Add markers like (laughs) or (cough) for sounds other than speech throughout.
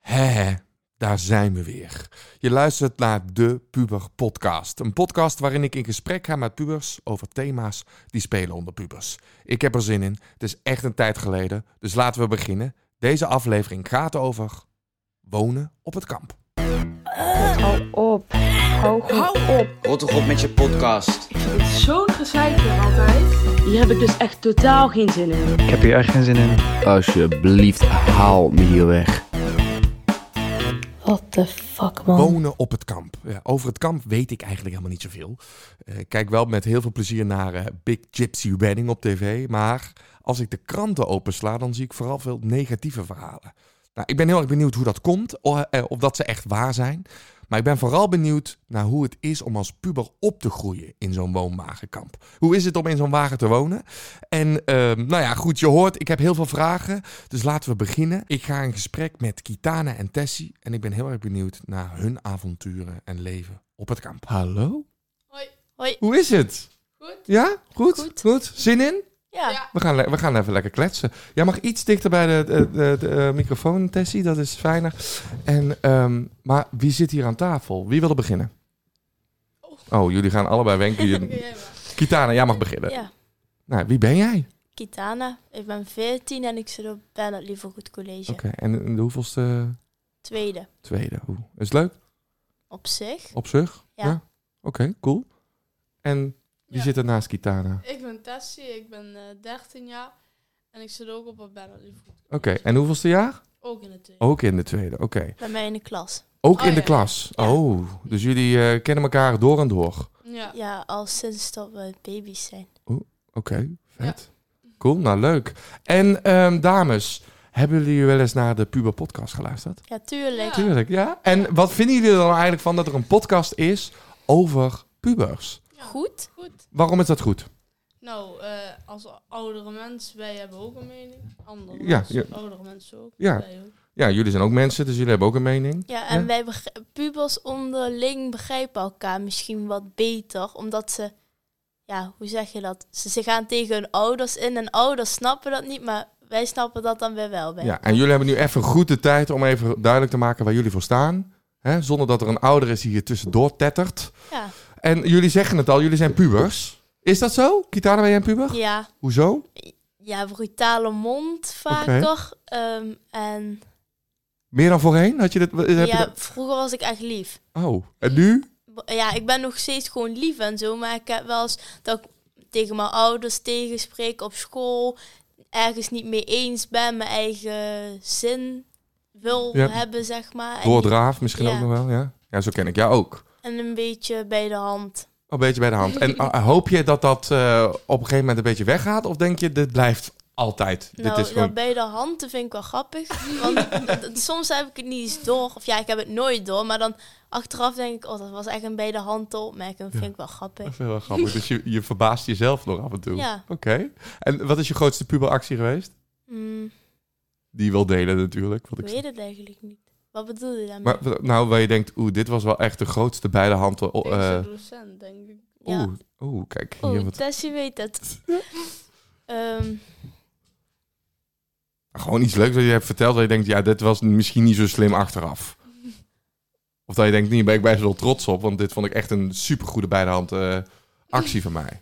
Hè, daar zijn we weer. Je luistert naar de Puber Podcast. Een podcast waarin ik in gesprek ga met pubers over thema's die spelen onder pubers. Ik heb er zin in. Het is echt een tijd geleden, dus laten we beginnen. Deze aflevering gaat over wonen op het kamp. Hou op. Hou goed op. Rot toch op met je podcast. Het is zo'n gezeik hier altijd. Hier heb ik dus echt totaal geen zin in. Ik heb hier echt geen zin in. Alsjeblieft, haal me hier weg. What the fuck, man. Wonen op het kamp. Ja, over het kamp weet ik eigenlijk helemaal niet zoveel. Eh, ik kijk wel met heel veel plezier naar eh, Big Gypsy Wedding op tv. Maar als ik de kranten opensla, dan zie ik vooral veel negatieve verhalen. Nou, ik ben heel erg benieuwd hoe dat komt, o- eh, of dat ze echt waar zijn. Maar ik ben vooral benieuwd naar hoe het is om als puber op te groeien in zo'n woonwagenkamp. Hoe is het om in zo'n wagen te wonen? En ehm, nou ja, goed, je hoort, ik heb heel veel vragen. Dus laten we beginnen. Ik ga in gesprek met Kitana en Tessie. En ik ben heel erg benieuwd naar hun avonturen en leven op het kamp. Hallo? Hoi. Hoe is het? Goed. Ja? Goed? Goed. Zin in? Ja. Ja. We gaan, le- we gaan even lekker kletsen. Jij mag iets dichter bij de, de, de- de, eh, microfoon, Tessie. Dat is fijner. En, ehm, maar wie zit hier aan tafel? Wie wil er beginnen? Oh, jullie gaan allebei wenken. (laughs) Je- Kitana, jij mag beginnen. Ja, Nou, wie ben jij? Kitana. Ik ben 14 en ik zit op Bernard Lievergoed College. Oké, en, en de hoeveelste? Tweede. Tweede. Oeh. Is het leuk? Op zich. Op zich? Ja. Oké, cool. En wie Ja. zit er naast Kitana? Ik ben Tessie, ik ben eh, 13 jaar. En ik zit ook op een banner. Oké, en hoeveelste jaar? Ook in het tweede. Ook in de tweede, oké. Bij mij in de klas. Ook Oh, in de ja. klas. Oh, dus jullie eh, kennen elkaar door en door. Ja. Ja, al sinds dat we baby's zijn. Oké, vet. Cool, nou leuk. En ehm, dames, hebben jullie wel eens naar de Puber podcast geluisterd? Ja, tuurlijk. Ja. Tuurlijk, ja. En wat vinden jullie er dan eigenlijk van dat er een podcast is over pubers? Goed. Goed. Waarom is dat goed? Nou, eh, als oudere mens, wij hebben ook een mening. Andere Ja, mensen, ja. oudere mensen ook. Ja. Wij ook. Ja, jullie zijn ook mensen, dus jullie hebben ook een mening. Ja, en Ja. wij begr- pubers onderling begrijpen elkaar misschien wat beter. Omdat ze, ja, hoe zeg je dat? Ze, ze gaan tegen hun ouders in en ouders snappen dat niet, maar wij snappen dat dan weer wel bij. Ja, en jullie hebben nu even goed de tijd om even duidelijk te maken waar jullie voor staan. Hè? Zonder dat er een ouder is die je tussendoor tettert. Ja. En jullie zeggen het al, jullie zijn pubers. Is dat zo? Kitana, ben jij een puber? ja. Hoezo? Ja, brutale mond vaker. ehm, en Meer dan voorheen? Had je dit, heb ja, je vroeger was ik echt lief. dat- Oh, en nu? B- ja, ik ben nog steeds gewoon lief en zo, maar ik heb wel eens dat ik tegen mijn ouders tegenspreek op school, ergens niet mee eens ben, mijn eigen zin wil Ja. hebben, zeg maar. En, Doordraaf misschien Ja. ook nog wel, ja? Ja, zo ken ik jou ook. en een beetje bij de hand. Een beetje bij de hand. (laughs) En ah, hoop je dat dat eh, op een gegeven moment een beetje weggaat? Of denk je, dit blijft altijd? dit nou, is gewoon... dat bij de hand dat vind ik wel grappig, want d- d- soms heb ik het niet eens door, of ja, ik heb het nooit door, maar dan achteraf denk ik, oh, dat was echt een bij de hand opmerking, dat vind ik wel Dat grappig. is wel grappig. Dus je, je verbaast jezelf nog af en toe. Ja. Oké. En wat is je grootste puberactie geweest? Hmm, Die wil delen natuurlijk. Wat ik ik weet het eigenlijk niet. Wat bedoel je daarmee? Maar wat- nou, waar je denkt, oeh, dit was wel echt de grootste beide handen. Ik Oh, ben eh, docent, denk ik. ja. Oeh, oeh, kijk. Hier, Oh, wat, Tessie weet het. (laughs) Ehm, gewoon iets leuks dat je hebt verteld. Dat je denkt, ja, dit was misschien niet zo slim (laughs) achteraf. Of dat je denkt, nee, ben ik best wel trots op. Want dit vond ik echt een supergoede beide hand eh, actie van (laughs) mij.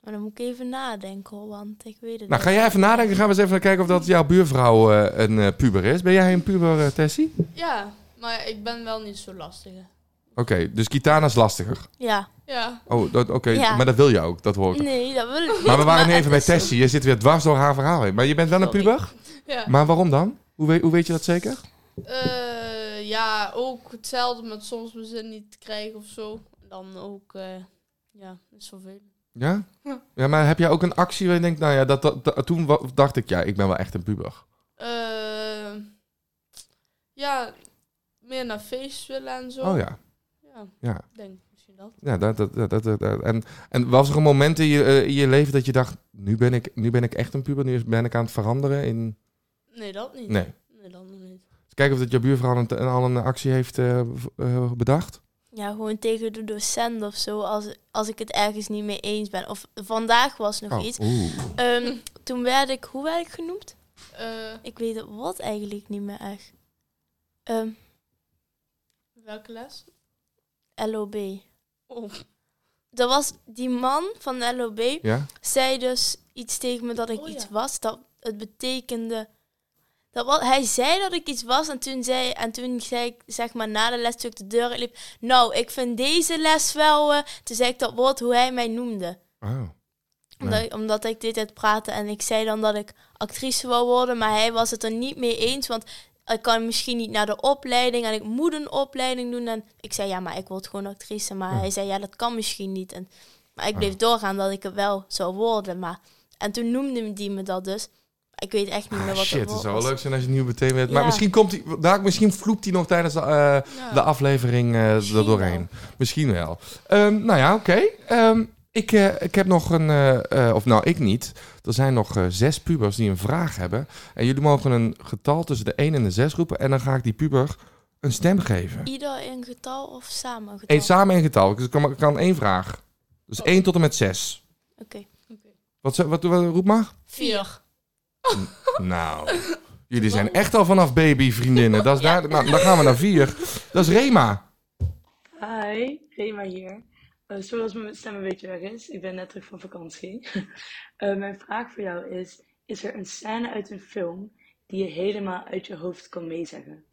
maar dan moet ik even nadenken hoor, want ik weet het Nou, niet. ga jij even nadenken. Gaan we eens even kijken of dat jouw buurvrouw eh, een eh, puber is. Ben jij een puber, eh, Tessie? Ja, maar ik ben wel niet zo lastig. Oké, dus Kitana is lastiger. Ja, Ja. Oh, dat- oké. Ja. Maar dat wil je ook, dat hoor ik. nee, dat (laughs) wil ik niet. Maar we waren nu het even bij (laughs) is zo. Tessie. Je zit weer dwars door haar verhaal heen. Maar je bent wel een Sorry. puber? Ja. Maar waarom dan? Hoe weet, hoe weet je dat zeker? Eh, ja, ook hetzelfde met soms mijn zin niet krijgen of zo. Dan ook, eh ja, zoveel. Ja? Ja. Ja, maar heb jij ook een actie waar je denkt, nou ja, dat, dat, dat- toen wa- dacht ik, ja, ik ben wel echt een puber. Eh, ja, meer naar feest willen en zo. Oh ja. Ja, Ja, ik denk misschien dat. ja dat, dat, dat, dat, dat- En, en was er een moment in je, eh, in je leven dat je dacht, nu ben, ik, nu ben ik echt een puber, nu is- ben ik aan het veranderen in... Nee, dat niet. Nee. Nee, dat nog niet. Dus kijken of dat je buurvrouw een, een- al een actie heeft eh, v- eh, bedacht. Ja, gewoon tegen de docent of zo, als, als ik het ergens niet mee eens ben. Of vandaag was nog Oh. iets. oeh. Ehm, toen werd ik, hoe werd ik genoemd? Eh, Ik weet het wat eigenlijk niet meer echt. Ehm, Welke les? LOB. Oh. Dat was die man van de LOB, Ja? zei dus iets tegen me dat ik Oh, iets ja. was. Dat het betekende. Dat wat, hij zei dat ik iets was en toen zei, en toen zei ik zeg maar na de les toen ik de deur liep. Nou, ik vind deze les wel. eh," toen zei ik dat woord hoe hij mij noemde. Oh. Omdat, Nee. ik- omdat ik dit tijd praatte en ik zei dan dat ik actrice wou worden, maar hij was het er niet mee eens, want ik kan misschien niet naar de opleiding en ik moet een opleiding doen. En ik zei ja, maar ik word gewoon actrice, maar Ja. hij zei ja, dat kan misschien niet. En, maar ik bleef doorgaan dat ik het wel zou worden, maar en toen noemde die me dat dus. Ik weet echt niet Ah, meer wat shit, het het woord zou was. wel leuk zijn als je het nieuw meteen weet. Maar Ja. misschien, komt hij, daar, misschien vloept hij nog tijdens de, eh, Ja. de aflevering eh, er Misschien doorheen. Misschien wel. Ehm, nou ja, oké. Ehm, ik, eh, ik heb nog een, eh, eh, of nou ik niet. Er zijn nog eh, zes pubers die een vraag hebben. En jullie mogen een getal tussen de 1 en de 6 roepen. En dan ga ik die puber een stem geven. Ieder een getal of samen een getal? Eén samen één getal. Dus ik kan, ik kan één vraag. Dus 1 tot en met 6. Oké. Wat, zou- wat, wat roep (laughs) maar? Vier. Nou, jullie zijn echt al vanaf baby vriendinnen. Dat is daar, nou, dan gaan we naar vier. Dat is Rema. Hi, Rema hier. Eh, sorry als mijn stem een beetje weg is. Ik ben net terug van vakantie. (laughs) Eh, mijn vraag voor jou is: is er een scène uit een film die je helemaal uit je hoofd kan meezeggen?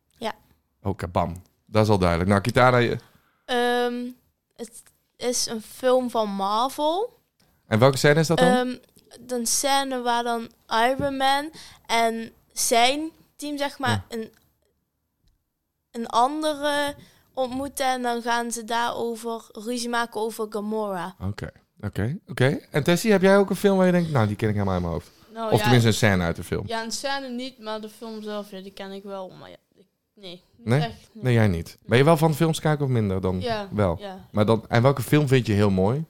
Oh, kabam. Dat is al duidelijk. Nou, Kitana... je- Ehm, het is een film van Marvel. En welke scène is dat Eh, dan? Ehm een scène waar dan Iron Man en zijn team, zeg maar, een, een andere ontmoeten. En dan gaan ze daarover ruzie maken over Gamora. Oké, oké, oké. En Tessie, heb jij ook een film waar je denkt... Nou, die ken ik helemaal in mijn hoofd. Nou, of ja, tenminste een scène uit de film. Ja, een scène niet, maar de film zelf, ja, die ken ik wel. Maar ja, ik- nee. Niet Nee? Echt, Nee, jij niet. Ben je wel van films kijken of minder dan Ja, wel? Ja. Maar dan, en welke film vind je heel mooi?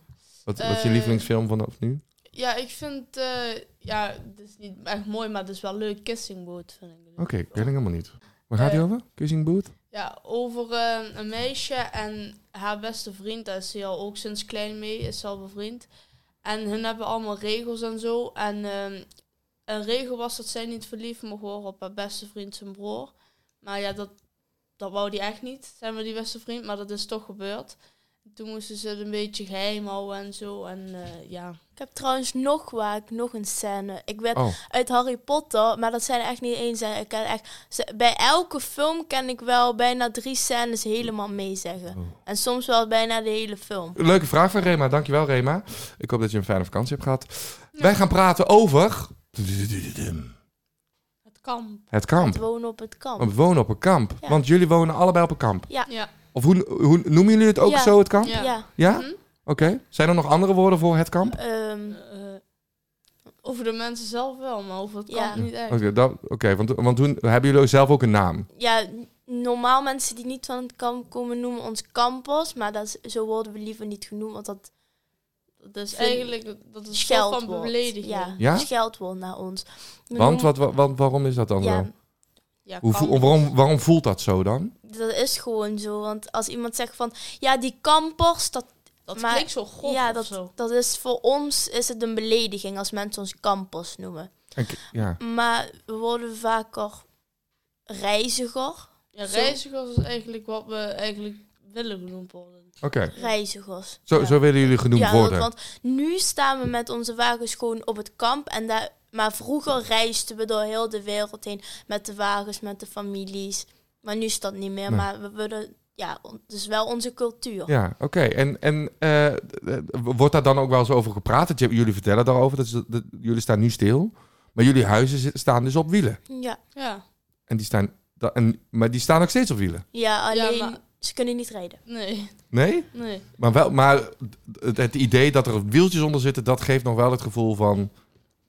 Wat, wat is je Eh, lievelingsfilm vanaf nu? ja, ik vind, eh, ja, het is niet echt mooi, maar het is wel leuk. Kissing Boot vind ik. leuk. Oké, ik ken ik helemaal niet. Waar gaat die Eh, over? Kissing Booth? Ja, over eh, een meisje en haar beste vriend. Daar is ze al ook sinds klein mee, is ze al bevriend. En hun hebben allemaal regels en zo. En ehm, een regel was dat zij niet verliefd mocht worden op haar beste vriend, zijn broer. Maar ja, dat, dat wou die echt niet, zijn we die beste vriend. Maar dat is toch gebeurd. Toen moesten ze het een beetje geheim houden en zo. En eh, ja. Ik heb trouwens nog waar ik nog een scène. Ik werd Oh, uit Harry Potter, maar dat zijn er echt niet één scène. Ik ken echt, ze- bij elke film ken ik wel bijna drie scènes helemaal meezeggen. Oh. En soms wel bijna de hele film. leuke vraag van Rema. Dankjewel, Rema. Ik hoop dat je een fijne vakantie hebt gehad. Wij gaan praten over... Het kan. Het Het kamp. wonen op het kamp. We wonen op een kamp. Ja. Want jullie wonen allebei op een kamp. Ja. Of hoe, hoe noemen jullie het ook Ja. zo, het kamp? Ja. ja. Ja? Mhm. Oké. Zijn er nog andere woorden voor het kamp? ehm, Eh, eh, over de mensen zelf wel, maar over het Ja. kamp niet echt. Oké, dat- oké, want, want toen hebben jullie zelf ook een naam. ja, n- normaal mensen die niet van het kamp komen noemen ons campus, maar dat is, zo worden we liever niet genoemd, want dat Dat is Vind- Dus eigenlijk dat is een soort scheldwoord. van belediging. Ja, Ja? scheldwoord naar ons. We Want, noemen- wat, wa- want waarom is dat dan zo? Ja, Ja, Hoe, kan. voel- waarom, waarom voelt dat zo dan? dat is gewoon zo, want als iemand zegt van, ja, die kampers, dat, Dat maar- klinkt zo grof ja, of dat, zo. dat is voor ons is het een belediging als mensen ons campers noemen. En k- ja. Maar we worden vaker reiziger, Ja, zo. reizigers is eigenlijk wat we eigenlijk willen genoemd worden. Oké, reizigers. zo, zo willen jullie genoemd Ja, worden. want nu staan we met onze wagens gewoon op het kamp. En daar, maar vroeger reisden we door heel de wereld heen met de wagens, met de families. Maar nu is dat niet meer. Nee. Maar we willen, ja, on- dus wel onze cultuur. Ja, Ja, oké. En, en eh, d- d- wordt daar dan ook wel eens over gepraat? Dat je- jullie vertellen daarover. Dat, is- dat- jullie staan nu stil. Maar jullie huizen zi- staan dus op wielen. ja, Ja, En die staan, da- en, maar die staan ook steeds op wielen. alleen maar- ze kunnen niet rijden. nee, Nee? nee. Maar, wel, maar het, het idee dat er wieltjes onder zitten, dat geeft nog wel het gevoel van...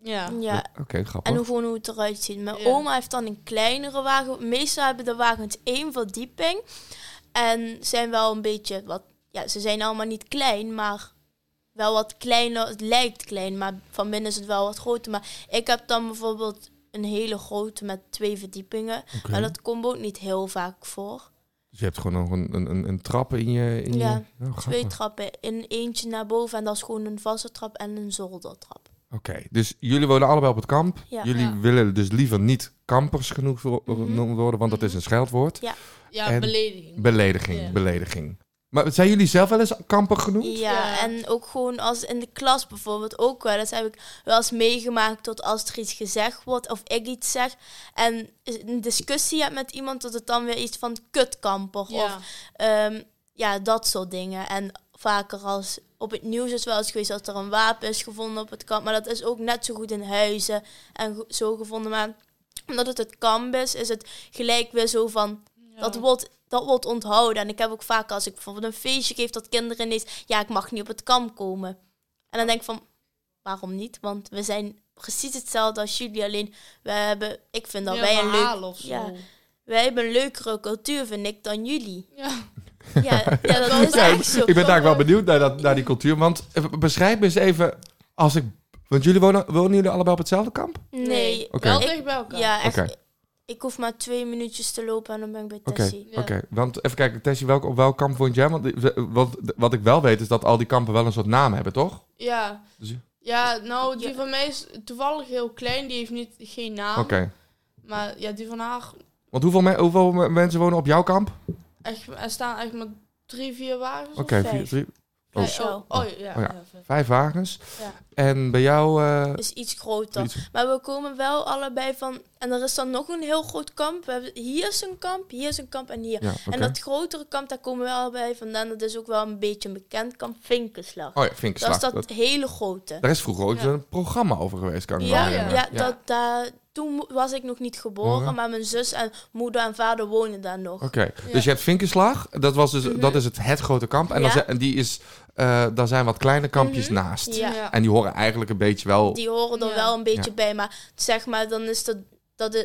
Ja. Ja. Oh, Oké, grappig. En hoe, gewoon hoe het eruit ziet. Mijn Ja. oma heeft dan een kleinere wagen. Meestal hebben de wagens één verdieping. En zijn wel een beetje wat. Ja, ze zijn allemaal niet klein, maar wel wat kleiner. Het lijkt klein, maar van binnen is het wel wat groter. Maar ik heb dan bijvoorbeeld een hele grote met twee verdiepingen. Oké. Maar dat komt ook niet heel vaak voor. Dus je hebt gewoon nog een, een, een, een trap in je... In Ja, je... Oh, Twee grappig. trappen. In eentje naar boven en dat is gewoon een vaste trap en een zoldertrap. Oké, dus jullie wonen allebei op het kamp. Ja. Jullie Ja. willen dus liever niet kampers genoeg wo- Mhm. genoemd worden, want dat is een scheldwoord. Ja, En- belediging. Belediging, Ja. belediging. Maar zijn jullie zelf wel eens kamper genoemd? Ja, Ja. en ook gewoon als in de klas bijvoorbeeld ook wel. Dat heb ik wel eens meegemaakt tot als er iets gezegd wordt of ik iets zeg. En een discussie hebt met iemand dat het dan weer iets van kutkamper of Ja. ehm, ja, dat soort dingen. En vaker als op het nieuws is wel eens geweest dat er een wapen is gevonden op het kamp. Maar dat is ook net zo goed in huizen en go- zo gevonden. Maar omdat het het kamp is, is het gelijk weer zo van... Dat wordt, dat wordt onthouden. En ik heb ook vaak als ik bijvoorbeeld een feestje geef dat kinderen ineens... Ja, ik mag niet op het kamp komen. En dan denk ik van, waarom niet? Want we zijn precies hetzelfde als jullie. Alleen, we hebben, ik vind dat Meer wij een leuk... verhalen of zo. ja. Wij hebben een leukere cultuur, vind ik, dan jullie. Ja. (laughs) Ja, ja dat is (laughs) Ja, echt zo. Ik ben daar wel benieuwd naar, dat, naar die cultuur. Want eh, beschrijf me eens even, als ik, want jullie wonen, wonen jullie allebei op hetzelfde kamp? Nee. Oké. Wel Ik- dicht bij elkaar. Ja, echt. Oké. Ik hoef maar twee minuutjes te lopen en dan ben ik bij Oké, Tessie. oké. Ja. Want even kijken, Tessie, welk, op welk kamp woont jij? Want eh, wat, wat ik wel weet is dat al die kampen wel een soort naam hebben, toch? Ja. Dus- Ja, nou, die Ja. van mij is toevallig heel klein. Die heeft niet, geen naam. Oké. Maar ja, die van haar... Want hoeveel, me- hoeveel me- mensen wonen op jouw Oh, kamp? Echt, er staan echt maar drie, vier wagens. Oké, vier- vijf. drie- Nee, Of zo. Oh, oh, ja. Oh, ja. ja, vet. vijf wagens. Ja. En bij jou... eh, Is iets groter. iets- Maar we komen wel allebei van. En er is dan nog een heel groot kamp. We hebben, hier is een kamp, hier is een kamp en hier. ja, oké. En dat grotere kamp, daar komen we allebei vandaan. Dat is ook wel een beetje een bekend kamp, Vinkenslag. Oh ja, dat Vinkenslag. is dat, Dat- hele grote. Daar is vroeger ook Ja. een programma over geweest, kan ik me Ja, ja, herinneren. Dat, daar toen mo- was ik nog niet geboren, Horen. maar mijn zus en moeder en vader wonen daar nog. Oké, dus je hebt Vinkenslag, dat, was dus, dat is het, het grote kamp. En, dan Mhm. Ja. Mhm. zijn- en die is, eh, daar zijn wat kleine kampjes naast. Ja. Ja. En die horen eigenlijk een beetje wel... Die horen er Ja. wel een beetje Ja. bij, maar zeg maar, dan is dat,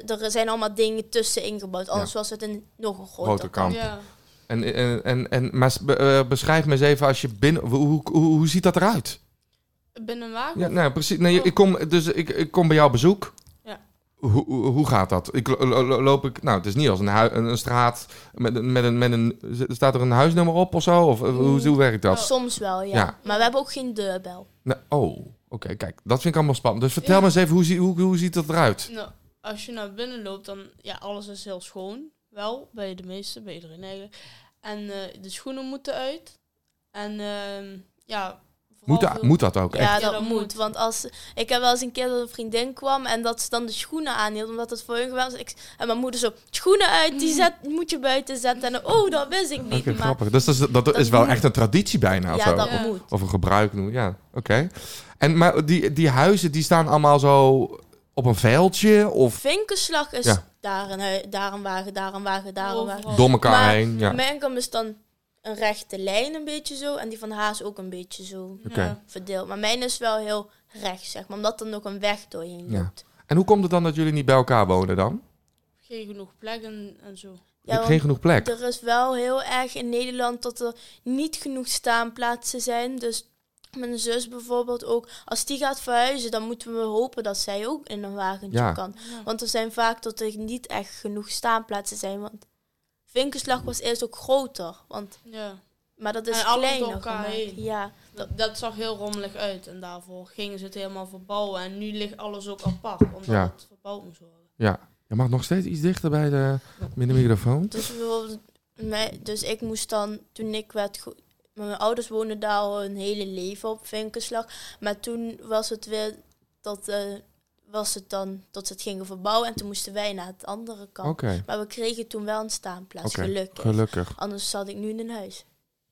dat er zijn allemaal dingen tussen ingebouwd. Anders was het een nog een groter, Groter kamp. Ja. En, en, en, en, maar s- be- eh, beschrijf me eens even als je binnen... Hoe, hoe, hoe, hoe ziet dat eruit? Binnen een wagen? Ja, nou, precies. Nee, ik kom, dus ik, ik kom bij jou op bezoek. Ja. Hoe, hoe hoe gaat dat? Ik, lo- lo- loop ik, nou, het is niet als een, hui- een, een straat met, een- met, een, met een... Staat er een huisnummer op of zo? Of eh, hoe, hoe werkt dat? Soms wel, ja. Ja. Maar we hebben ook geen deurbel. Nou, oh, oké, kijk. Dat vind ik allemaal spannend. Dus vertel me eens even, hoe, zie- hoe, hoe ziet dat eruit? Nou, als je naar binnen loopt, dan ja, alles is heel schoon. Wel, bij de meeste, bij iedereen eigenlijk. En eh, de schoenen moeten uit. En ehm, ja, vooral Moet, da- veel- moet dat ook? Ja, echt? dat, dat moet. moet. Want als, ik heb wel eens een keer dat een vriendin kwam en dat ze dan de schoenen aanhield, omdat het voor hun geweld was. Ik, en mijn moeder zo, schoenen uit, Mm. die zet, moet je buiten zetten. En oh, dat wist ik Oké, niet. maar grappig. Dus dat is, dat is wel moet. echt een traditie bijna of ja, zo. dat Ja. moet. Of een gebruik noemen, ja. Oké. En maar die, die huizen, die staan allemaal zo op een veldje of Vinkenslag is Ja. daar, een, hui- daar een wagen, daar een wagen, daar een wagen. Overal. door elkaar Oh. Maar- heen. Ja. Mijn kamp is dan een rechte lijn een beetje zo. En die van Haas ook een beetje zo Oké. Ja. verdeeld. Maar mijn is wel heel recht, zeg maar. Omdat er nog een weg doorheen Ja. loopt. En hoe komt het dan dat jullie niet bij elkaar wonen dan? Geen genoeg plek en, en zo. Je hebt Ja, want- geen genoeg plek. Er is wel heel erg in Nederland dat er niet genoeg staanplaatsen zijn. Dus mijn zus bijvoorbeeld ook, als die gaat verhuizen, dan moeten we hopen dat zij ook in een wagentje Ja. kan. Want er zijn vaak dat er niet echt genoeg staanplaatsen zijn. Want Vinkenslag was eerst ook groter. Want, Ja. maar dat is En alles kleiner door elkaar gemaakt. heen. Ja, Dat, dat zag heel rommelig uit. En daarvoor gingen ze het helemaal verbouwen. En nu ligt alles ook apart, omdat Ja. het verbouwd moest worden. Ja. Je mag nog steeds iets dichter bij de, bij de microfoon. dus bijvoorbeeld, mij- dus ik moest dan, toen ik werd ge- mijn ouders woonden daar al hun hele leven op Vinkenslag. Maar toen was het weer dat, eh, was het dan, dat ze het gingen verbouwen. En toen moesten wij naar het andere Oké, kamp. Maar we kregen toen wel een staanplaats, Oké, gelukkig. gelukkig. Anders zat ik nu in een huis.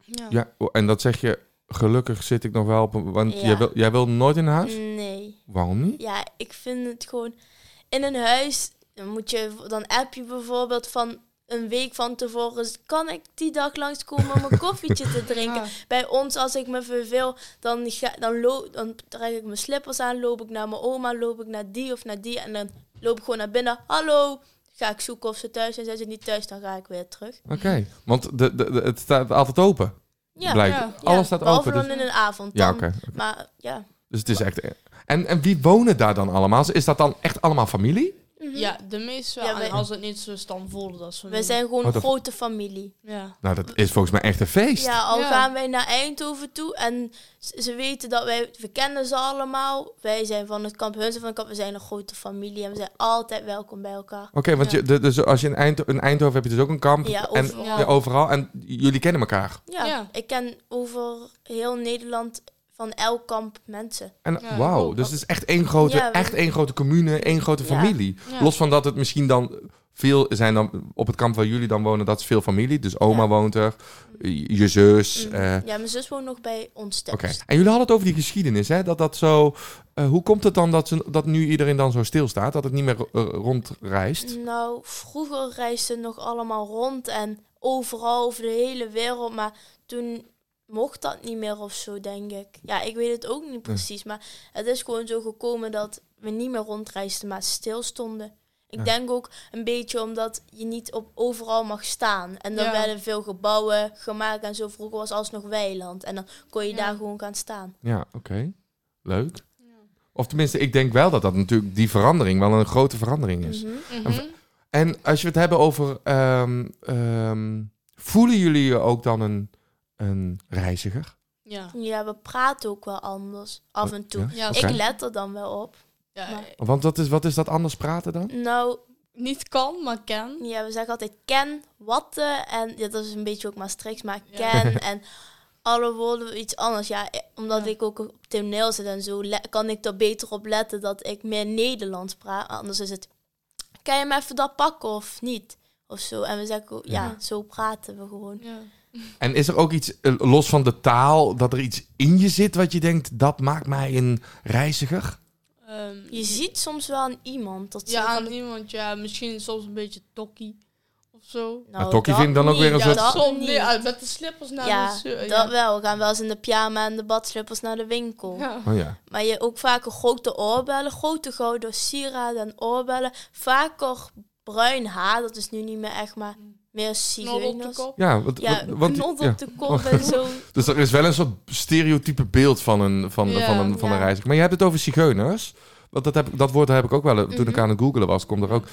Ja. Ja, oh, en dat zeg je, gelukkig zit ik nog wel op een... Want Ja. Mm. jij, wil, jij wil nooit in huis? Nee. Waarom niet? Ja, ik vind het gewoon... In een huis dan moet je... Dan app je bijvoorbeeld van een week van tevoren... Kan ik die dag langskomen om een koffietje te drinken? Ja. Bij ons, als ik me verveel, dan, ga, dan, loop, dan trek ik mijn slippers aan. Loop ik naar mijn oma, loop ik naar die of naar die. En dan loop ik gewoon naar binnen. Hallo! Ga ik zoeken of ze thuis zijn. Zijn ze niet thuis, dan ga ik weer terug. Oké, want de, de, de- het staat altijd open. Ja, blijkt. ja. Alles Ja, staat behalve open. Dus, dan in een avond. ja, dan. oké. oké. Maar ja, Dus het is echt... En, en wie wonen daar dan allemaal? Is dat dan echt allemaal familie? Ja, de meeste wel. Mhm. Ja, wij- en als het niet zo is, dan voelde dat zo. We zijn gewoon Oh, een dat- grote familie. Ja. Nou, dat is volgens mij echt een feest. Ja, al Ja. gaan wij naar Eindhoven toe en ze ze weten dat wij, we kennen ze allemaal. Wij zijn van het kamp, hun zijn van het kamp, we zijn een grote familie en we zijn altijd welkom bij elkaar. Oké, want Ja. je, de- dus als je in, Eind, in Eindhoven heb je dus ook een kamp. Ja, en, overal. ja, overal. En jullie kennen elkaar. Ja, Ja. ik ken over heel Nederland van elk kamp mensen. En Ja, wauw, ook. dus het is echt één grote, Ja, we- echt één grote commune, één grote Ja. familie. Ja. Los van dat het misschien dan veel zijn dan op het kamp waar jullie dan wonen, dat is veel familie. Dus oma Ja. woont er, je zus. eh, Ja, mijn zus woont nog bij ons thuis. Oké. En jullie hadden het over die geschiedenis, hè? Dat dat zo. eh, hoe komt het dan dat, ze, dat nu iedereen dan zo stilstaat, dat het niet meer ro- eh, rondreist? Nou, vroeger reisden nog allemaal rond en overal over de hele wereld, maar toen mocht dat niet meer of zo, denk ik. Ja, ik weet het ook niet precies, maar het is gewoon zo gekomen dat we niet meer rondreisden, maar stilstonden. Ik Ja. denk ook een beetje omdat je niet op overal mag staan. En dan Ja. werden veel gebouwen gemaakt en zo. Vroeger was alles nog weiland. En dan kon je Ja. daar gewoon gaan staan. Ja, oké. Leuk. Of tenminste, ik denk wel dat dat natuurlijk die verandering wel een grote verandering is. Mhm. Mhm. En als je het hebben over. ehm, ehm, voelen jullie je ook dan een, een reiziger? Ja. Ja, we praten ook wel anders af en toe. Ja? Ja, Oké. Ik let er dan wel op. Ja, Maar- eh, Want dat is, wat is dat anders praten dan? Nou, Niet kan, maar ken. Ja, we zeggen altijd ken, watten en ja, dat is een beetje ook Maastricht, maar Ja. (laughs) ken en alle woorden iets anders. Ja, eh, omdat Ja. ik ook op toneel zit en zo, le- kan ik er beter op letten dat ik meer Nederlands praat. Maar Anders is het, kan je me even dat pakken of niet? Of zo. En we zeggen, ook, ja, Ja. zo praten we gewoon. Ja. En is er ook iets, eh, los van de taal, dat er iets in je zit wat je denkt, dat maakt mij een reiziger? Ehm, Je ziet soms wel aan iemand dat ze... ja, van- aan iemand, ja, misschien soms een beetje tokkie of zo. Maar Tokkie vind ik dan ook weer een "Nou, niet, soort- dat soms niet. nee, uit met de slippers naar Ja, de zeu- dat wel. We gaan wel eens in de pyjama en de badslippers naar de (laughs) winkel. Ja. Oh ja. Maar je ook vaker grote oorbellen, grote gouden sieraden en oorbellen. Vaker bruin haar, dat is nu niet meer echt, maar meer Mm. Knol op de sirenes. kop. Ja, want, Ja, want- want- knot ja. op de kop en zo. Dus er is wel een soort stereotype beeld van een, van, Ja, van een, van een ja. reiziger. Maar je hebt het over zigeuners. Want dat, heb, ik- dat woord heb ik ook wel. eh, Toen ik Mhm. aan het googelen was, komt er ook.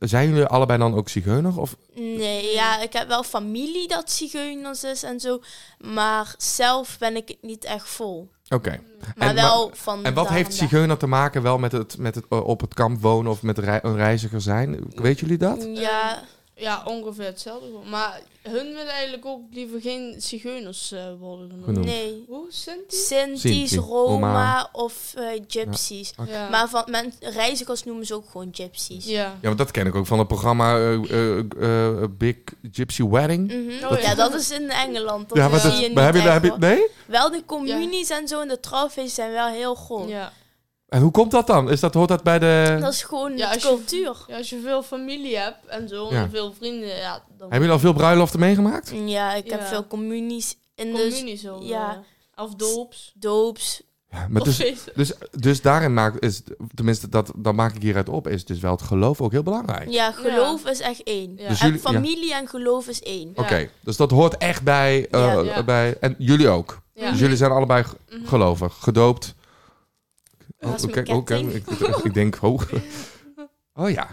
Zijn jullie allebei dan ook zigeuner? Of, Nee, ja, ik heb wel familie dat zigeuners is en zo. Maar zelf ben ik het niet echt vol. oké. Maar En wel wa- van En wat daar heeft vandaan. zigeuner te maken wel met het, met het eh, op het kamp wonen of met rei- een reiziger zijn? Weet jullie dat? Ja, Ja, ongeveer hetzelfde. gewoon. Maar hun willen eigenlijk ook liever geen zigeuners eh, worden genoemd. Genoemd. nee. Hoe, Sinti? Sinti's, Sinti, Roma. Roma of eh, gypsies. Ja. Maar van, men, reizigers noemen ze ook gewoon gypsies. ja. Ja, want dat ken ik ook van het programma eh, eh, eh, Big Gypsy Wedding. Mhm. Oh, ja. ja. dat is in Engeland. Dat ja, maar zie Mm, dat- je niet maar heb je, echt, daar heb je, hoor. nee? Wel de communies en zo en de trouwfeesten zijn wel heel groot. Ja. En hoe komt dat dan? Is dat, hoort dat bij de... Dat is gewoon Ja, de als je- cultuur. ja, als je veel familie hebt en zo, Ja. en veel vrienden, ja, dan Hebben jullie al veel bruiloften meegemaakt? Ja, ik heb Ja. veel communies in de communie zo. Dus eh, ja. Ja. Of doops. doops. Ja, maar Of dus, feesten. Dus, dus daarin maak is, tenminste, dat, dat maak ik hieruit op, is dus wel het geloof ook heel belangrijk. Ja, geloof is echt één. Ja. Dus En jullie- ja. familie en geloof is één. Ja. Oké, dus dat hoort echt bij, eh, Ja, ja. bij. En jullie ook. Ja. Dus jullie zijn allebei g- Mhm. gelovig, gedoopt. Dat is oké, mijn oké, ketting. ik, ik denk, oh. (laughs) Oh ja.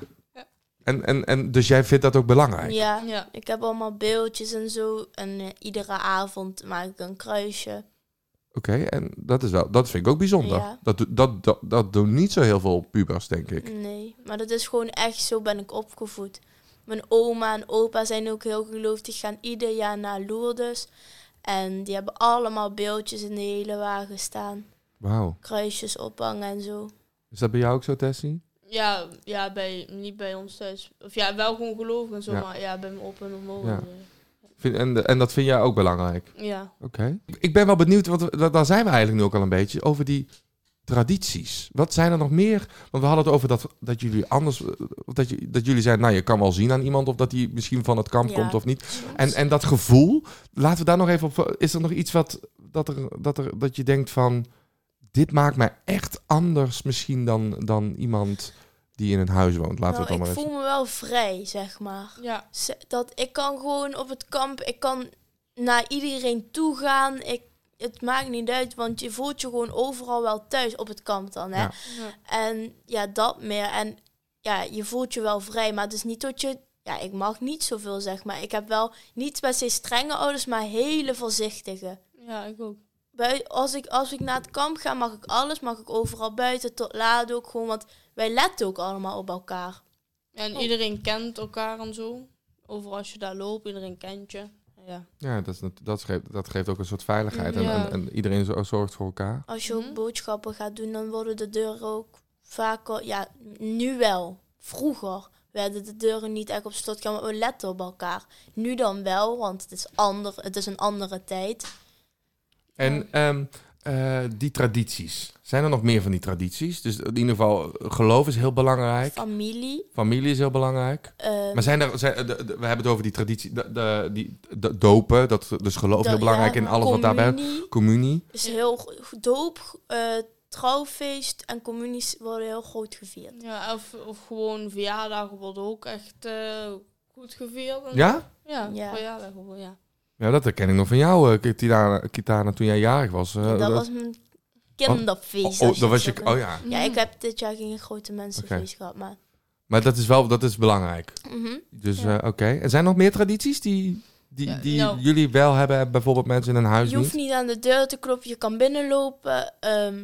En, en, en dus jij vindt dat ook belangrijk? Ja. Ja. Ik heb allemaal beeldjes en zo. En eh, iedere avond maak ik een kruisje. Oké, en dat, is wel, dat vind ik ook bijzonder. Ja. Dat, do- dat, dat, dat doen niet zo heel veel pubers, denk ik. Nee, maar dat is gewoon echt zo ben ik opgevoed. Mijn oma en opa zijn ook heel geloofd. Die gaan ieder jaar naar Lourdes. En die hebben allemaal beeldjes in de hele wagen staan. Wauw. kruisjes ophangen en zo. Is dat bij jou ook zo, Tessie? Ja, ja bij, niet bij ons thuis. Of ja, wel gewoon gelovig en zo, Ja. maar ja, bij mijn op en omhoog. Ja. Ja. Vind, en, en dat vind jij ook belangrijk? ja. Oké. Ik ben wel benieuwd, want we- da- daar zijn we eigenlijk nu ook al een beetje, over die tradities. Wat zijn er nog meer? Want we hadden het over dat, dat jullie anders, eh, of dat, je, dat jullie zeiden, nou je kan wel zien aan iemand of dat die misschien van het kamp Ja. komt of niet. En, en dat gevoel, laten we daar nog even op, is er nog iets wat, dat, er, dat, er, dat je denkt van, dit maakt mij echt anders misschien dan, dan iemand die in een huis woont. Laten we het Nou, dan ik maar even. voel me wel vrij, zeg maar. ja. Z- Dat ik kan gewoon op het kamp, ik kan naar iedereen toe gaan. Ik, het maakt niet uit, want je voelt je gewoon overal wel thuis op het kamp dan. Hè? Ja. Ja. En ja, dat meer. En ja, je voelt je wel vrij, maar het is niet dat je, ja, ik mag niet zoveel zeg maar. Ik heb wel niet per se strenge ouders, maar hele voorzichtige. Ja, ik ook. Bui- als, ik, als ik naar het kamp ga, mag ik alles, mag ik overal buiten, tot laat ook gewoon, want wij letten ook allemaal op elkaar. En Oh. iedereen kent elkaar en zo. Overal als je daar loopt, iedereen kent je. Ja. Ja, dat, is nat- dat, geeft, dat geeft ook een soort veiligheid. En, Ja. en, en iedereen zo- zorgt voor elkaar. Als je ook Mhm. boodschappen gaat doen, dan worden de deuren ook vaker, ja, nu wel. Vroeger werden de deuren niet echt op slot gedaan, maar we letten op elkaar. Nu dan wel, want het is, ander, het is een andere tijd. En ehm, eh, die tradities. Zijn er nog meer van die tradities? Dus in ieder geval, geloof is heel belangrijk. Familie. Familie is heel belangrijk. eh, Maar zijn er, zijn, de- de- we hebben het over die traditie, de, de- die, de- dopen, dat, dus geloof da- heel belangrijk ja, in alles wat daarbij communie Communie. is heel go- doop, eh, trouwfeest en communies worden heel groot gevierd. ja of, of gewoon verjaardagen worden ook echt eh, goed gevierd. en- Ja? Ja, Ja. verjaardagen gewoon, ja. Ja, dat herken ik nog van jou, eh, Kitana, Kitana, toen jij jarig was. eh, dat, dat- was mijn kinderfeest. Oh, als dat was het je... zo Oh wil. ja. Mhm. Ja, ik heb dit jaar geen grote mensenfeest Oké. gehad, maar... Maar dat is wel dat is belangrijk. mhm. Dus Ja. eh, oké. En zijn er nog meer tradities die, die, Ja, die nou. jullie wel hebben? en Bijvoorbeeld mensen in een huis Je hoeft niet? niet aan de deur te kloppen, je kan binnenlopen. ehm.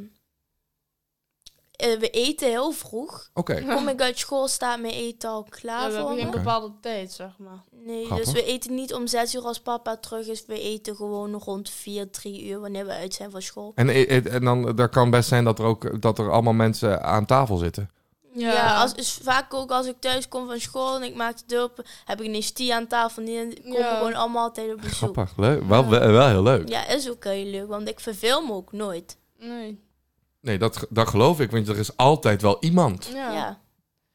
Eh, we eten heel vroeg. Oké. Kom ik uit school, staat mijn eten al Ja, klaar we voor hebben geen me. Oké. bepaalde tijd, zeg maar. Nee, Grappig. dus we eten niet om zes uur als papa terug is. We eten gewoon rond vier, drie uur wanneer we uit zijn van school. En, eh, eh, en dan dat kan best zijn dat er ook dat er allemaal mensen aan tafel zitten. Ja, als, is vaak ook als ik thuis kom van school en ik maak de deur open, heb ik ineens die aan tafel. Die komen Ja. gewoon allemaal altijd op bezoek. Grappig, leuk. Wel, wel, wel heel leuk. Ja, is ook heel leuk, want ik verveel me ook nooit. Nee. Nee, dat, ge- dat geloof ik, want er is altijd wel iemand. Ja. Ja. ja.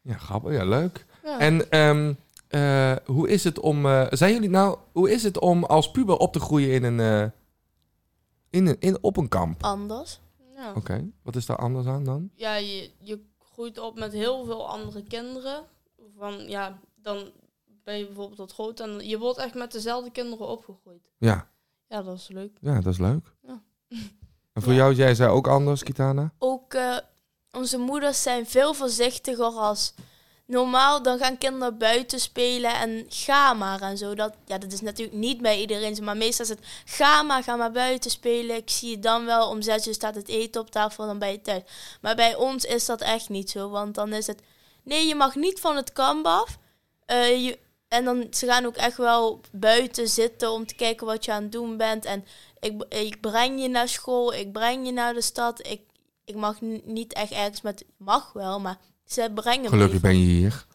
Ja, grappig. Ja, leuk. En ehm, eh, hoe is het om. eh, zijn jullie nou. Hoe is het om als puber op te groeien in een. eh, in een in, op een kamp? anders. Ja. Oké. Wat is daar anders aan dan? ja, je, je groeit op met heel veel andere kinderen. Van, ja, dan ben je bijvoorbeeld wat groot en je wordt echt met dezelfde kinderen opgegroeid. Ja. Ja, dat is leuk. Ja, dat is leuk. Ja. En voor jou, jij zei ook anders, Kitana? ook eh, onze moeders zijn veel voorzichtiger als normaal. Dan gaan kinderen buiten spelen en ga maar en zo. Dat, ja, dat is natuurlijk niet bij iedereen zo, maar meestal is het ga maar, ga maar buiten spelen. Ik zie je dan wel, om zes uur staat het eten op tafel, dan ben je thuis. Maar bij ons is dat echt niet zo, want dan is het nee, je mag niet van het kamp af. Eh, je, en dan, ze gaan ook echt wel buiten zitten om te kijken wat je aan het doen bent. En ik, ik breng je naar school, ik breng je naar de stad. Ik, ik mag n- niet echt ergens met... Mag wel, maar ze brengen me Gelukkig even. ben je hier.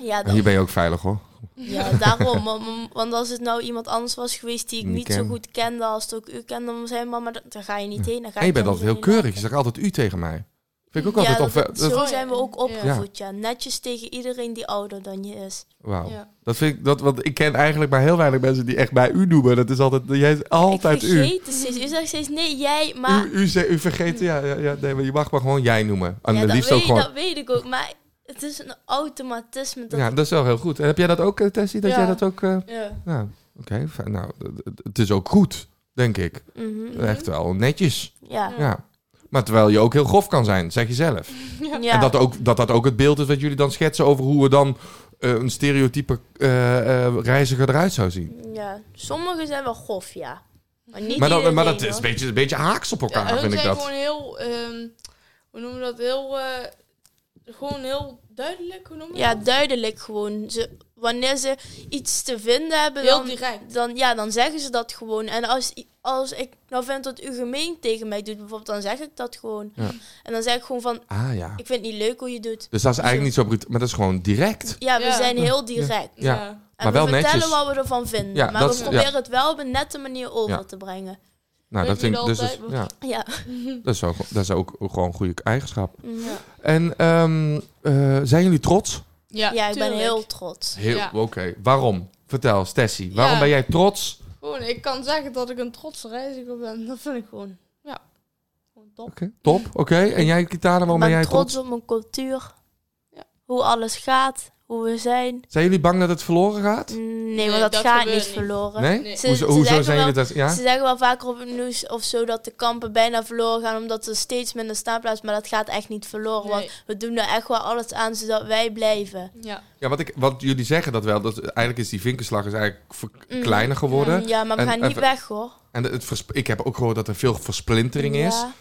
Ja, En dat- hier ben je ook veilig hoor. ja, daarom. Want- want- Want als het nou iemand anders was geweest die ik Niet niet, zo ken. goed kende... als het ook u kende, dan zei mama, dan, dan ga je niet heen. Dan ga En je ik bent je altijd heel niet heen. keurig. Je zegt altijd u tegen mij. Vind ik ook Ja, altijd dat, of dat- dat, zo zijn we ook Ja. opgevoed, ja. Netjes tegen iedereen die ouder dan je is. wauw. Ja. Dat vind ik dat want ik ken eigenlijk maar heel weinig mensen die echt bij u noemen. Dat is altijd jij is altijd ik u. vergeet het steeds. U zegt steeds, nee, jij, maar... U, u, ze- u vergeet ja, ja, ja nee, maar je mag maar gewoon jij noemen. En ja, het dat, liefst weet, ook gewoon. dat weet ik ook, maar het is een automatisme. Dat Ja, dat is wel heel goed. En heb jij dat ook, eh, Tessie? Dat Ja. jij dat ook. eh, Ja. nou, oké. fijn. Nou, d- d- het is ook goed, denk ik. Mhm. Echt wel netjes. Ja. Ja. Maar terwijl je ook heel grof kan zijn, zeg je zelf. Ja. En dat ook, dat dat ook het beeld is wat jullie dan schetsen over hoe we dan eh, een stereotype eh, eh, reiziger eruit zou zien. ja, sommigen zijn wel grof, ja. Maar niet Maar, dat, maar iedereen, dat is een hoor. beetje, een beetje haaks op Ja, elkaar, hun nou vind ik zijn dat. gewoon heel, ehm, hoe noemen we dat, heel, eh, gewoon heel duidelijk, hoe noemen we Ja, dat? duidelijk gewoon. Ze, wanneer ze iets te vinden hebben, Heel dan, direct. dan, ja, dan zeggen ze dat gewoon. En als, i- als ik nou vind dat u gemeen tegen mij doet, bijvoorbeeld, dan zeg ik dat gewoon. Ja. En dan zeg ik gewoon van, Ah ja. ik vind het niet leuk hoe je doet. Dus dat is eigenlijk niet zo brutaal, maar dat is gewoon direct. Ja, we Ja. zijn heel direct. Ja. En Maar wel we vertellen netjes. wat we ervan vinden. Ja, maar dat we is- ja. proberen het wel op een nette manier over Ja. te brengen. Nou, dat Weet vind ik niet dus, is, altijd, ja, Ja. dat, is ook, dat is ook gewoon een goede eigenschap. Mhm. Ja. En ehm, eh, zijn jullie trots? Ja, Ja, ik ben tuurlijk. heel trots. Heel, Ja. oké. Waarom? Vertel, Stessie. Waarom Ja. ben jij trots? Gewoon, ik kan zeggen dat ik een trotse reiziger ben. Dat vind ik gewoon, ja, gewoon top. Oké, Top, oké. En jij, Kitana, waarom ben, ik ben jij trots op mijn cultuur. Ja. Hoe alles gaat, hoe hoe we zijn. Zijn jullie bang dat het verloren gaat? Nee, Nee, want dat, dat gaat gebeurt niet niet. verloren. Nee? Nee. Ze- Hoezo, ze hoezo zeggen zijn jullie wel- dat? Ja? Ze zeggen wel vaker op het nieuws of zo dat de kampen bijna verloren gaan, omdat er steeds minder staanplaats, maar dat gaat echt niet verloren. Nee. Want we doen er echt wel alles aan zodat wij blijven. Ja. Ja, wat, ik, wat jullie zeggen dat wel. Dat, eigenlijk is die vinkenslag is eigenlijk ver- Mm. kleiner geworden. Mm, Ja, maar we En- gaan en niet we- weg hoor. En het vers- ik heb ook gehoord dat er veel versplintering is. Ja.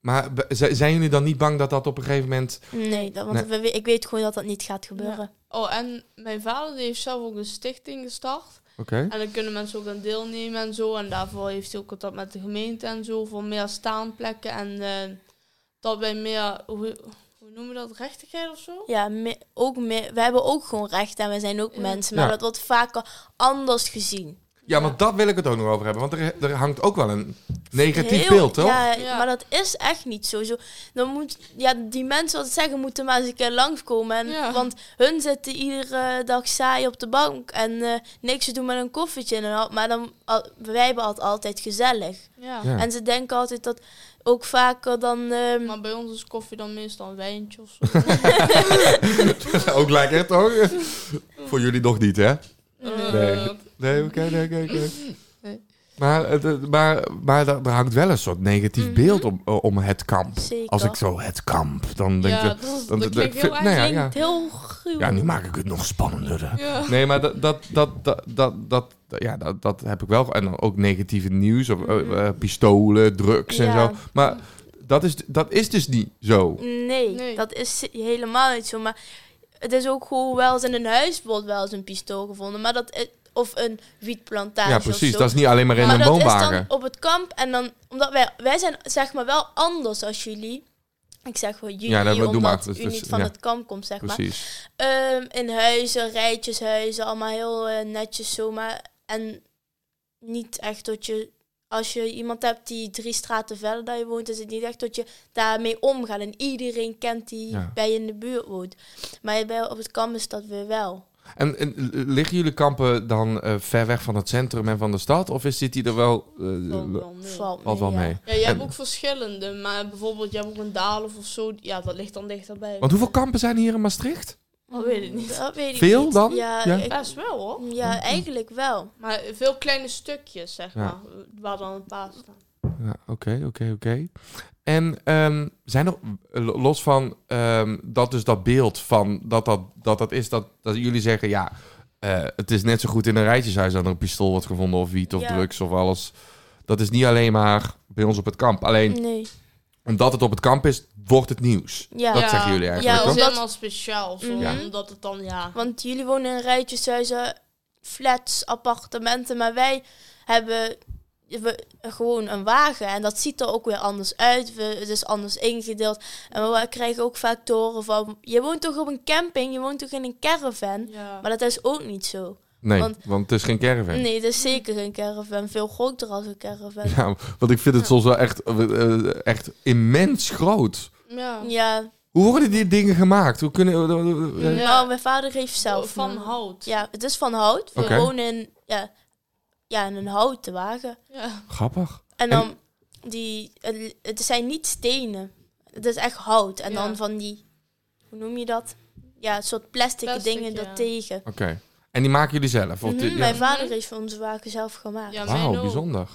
Maar b- z- zijn jullie dan niet bang dat dat op een gegeven moment... Nee, dat, want Nee. we- ik weet gewoon dat dat niet gaat gebeuren. Oh, en mijn vader die heeft zelf ook een stichting gestart. Oké. En daar kunnen mensen ook aan deelnemen en zo. En daarvoor heeft hij ook contact met de gemeente en zo. Voor meer staanplekken. En eh, dat wij meer, hoe, hoe noemen we dat, rechtigheid of zo? Ja, me- ook me- we hebben ook gewoon recht en we zijn ook Ja. mensen, maar Ja. dat wordt vaker anders gezien. Ja, want daar wil ik het ook nog over hebben. Want er, er hangt ook wel een negatief Heel- beeld, toch? Ja, Ja. maar dat is echt niet zo. zo dan moet, ja, die mensen wat zeggen moeten maar eens een keer langskomen. En, Ja. Want hun zitten iedere dag saai op de bank en eh, niks te doen met een koffietje. En al, maar dan, al- wij hebben het altijd gezellig. Ja. Ja. En ze denken altijd dat ook vaker dan... ehm, Maar bij ons is koffie dan meestal een wijntje (laughs) of zo. (laughs) ook lekker, (laughs) toch? Voor jullie nog niet, hè? Eh, Nee, oké, nee, oké, oké. Nee. Maar, het- het- maar, maar daar, daar hangt wel een soort negatief Mhm. beeld om, om het kamp. Zeker. Als ik zo het kamp, dan denk Ja, je... dat, is- dan- dat- dat klinkt heel vind- nee, erg. ja, klinkt ja. heel gruwelijk. Ja, nu maak ik het nog spannender. hè. Ja. Nee, maar dat, dat, dat, dat, dat, dat, ja, dat, dat heb ik wel. ge- En dan ook negatieve nieuws, of eh, eh, pistolen, drugs en Ja. zo. Maar dat is, dat is dus niet zo. Nee, Nee. dat is helemaal niet zo. Maar het is ook gewoon wel eens in een huis bijvoorbeeld wel eens een pistool gevonden. Maar dat is- of een wietplantage Ja, of precies. zo. Dat is niet alleen maar in maar een dat woonwagen. is dan op het kamp. En dan, omdat wij, wij zijn zeg maar wel anders als jullie. Ik zeg wel jullie, Ja, dat- doe omdat maar. Dat u is- niet van ja. het kamp komt, zeg maar. Precies. Ehm, in huizen, rijtjeshuizen, allemaal heel eh, netjes zomaar. En niet echt dat je, als je iemand hebt die drie straten verder daar je woont, is het niet echt dat je daarmee omgaat. En iedereen kent die Ja. bij je in de buurt woont. Maar bij, op het kamp is dat weer wel. En, en liggen jullie kampen dan eh, ver weg van het centrum en van de stad? Of is dit hier er wel... eh, Valt wel mee. Valt valt wel ja. mee. Ja, je hebt En- ook verschillende, maar bijvoorbeeld je hebt ook een Dalen of zo. Ja, dat ligt dan dichterbij. Want hoeveel kampen zijn hier in Maastricht? Dat weet ik niet. Dat weet ik Veel niet. dan? Ja, Ja. ik- Best wel hoor. ja, eigenlijk wel. Maar veel kleine stukjes, zeg Ja. maar, waar dan een paar staan. Ja, Oké, oké, oké. En ehm, zijn er, eh, los van ehm, dat dus dat beeld van dat dat, dat, dat is, dat, dat jullie zeggen, ja, eh, het is net zo goed in een rijtjeshuis dat er een pistool wordt gevonden of wiet of Ja. drugs of alles. Dat is niet alleen maar bij ons op het kamp. Alleen Nee. omdat het op het kamp is, wordt het nieuws. Ja. Dat Ja. Mhm. zeggen jullie eigenlijk, Ja, Dat is toch? omdat- helemaal speciaal, of zo, Ja. omdat het dan, ja... Want jullie wonen in rijtjeshuizen, flats, appartementen. Maar wij hebben we, gewoon een wagen. En dat ziet er ook weer anders uit. We, het is anders ingedeeld. En we krijgen ook vaak te horen van... Je woont toch op een camping? Je woont toch in een caravan? ja. Maar dat is ook niet zo. Nee, want, want- het is geen caravan. Nee, het is zeker een caravan. Veel groter als een caravan. (laughs) Ja, want ik vind het soms wel echt, eh, eh, echt immens groot. ja. Ja. Hoe worden die dingen gemaakt? Hoe kunnen... Ja. Nou, mijn vader heeft zelf... Van een- hout. Ja, het is van hout. We Oké. wonen in, ja, ja, in een houten wagen. Ja. Grappig. En En- dan die, het, het zijn niet stenen. Het is echt hout. En Ja. dan van die, hoe noem je dat? Ja, een soort plastic, Plastic, dingen ja. dat tegen. Oké. En die maken jullie zelf? Of Mhm, die- ja. Mijn vader heeft van onze wagen zelf gemaakt. Ja, mijn Wauw, ook. bijzonder.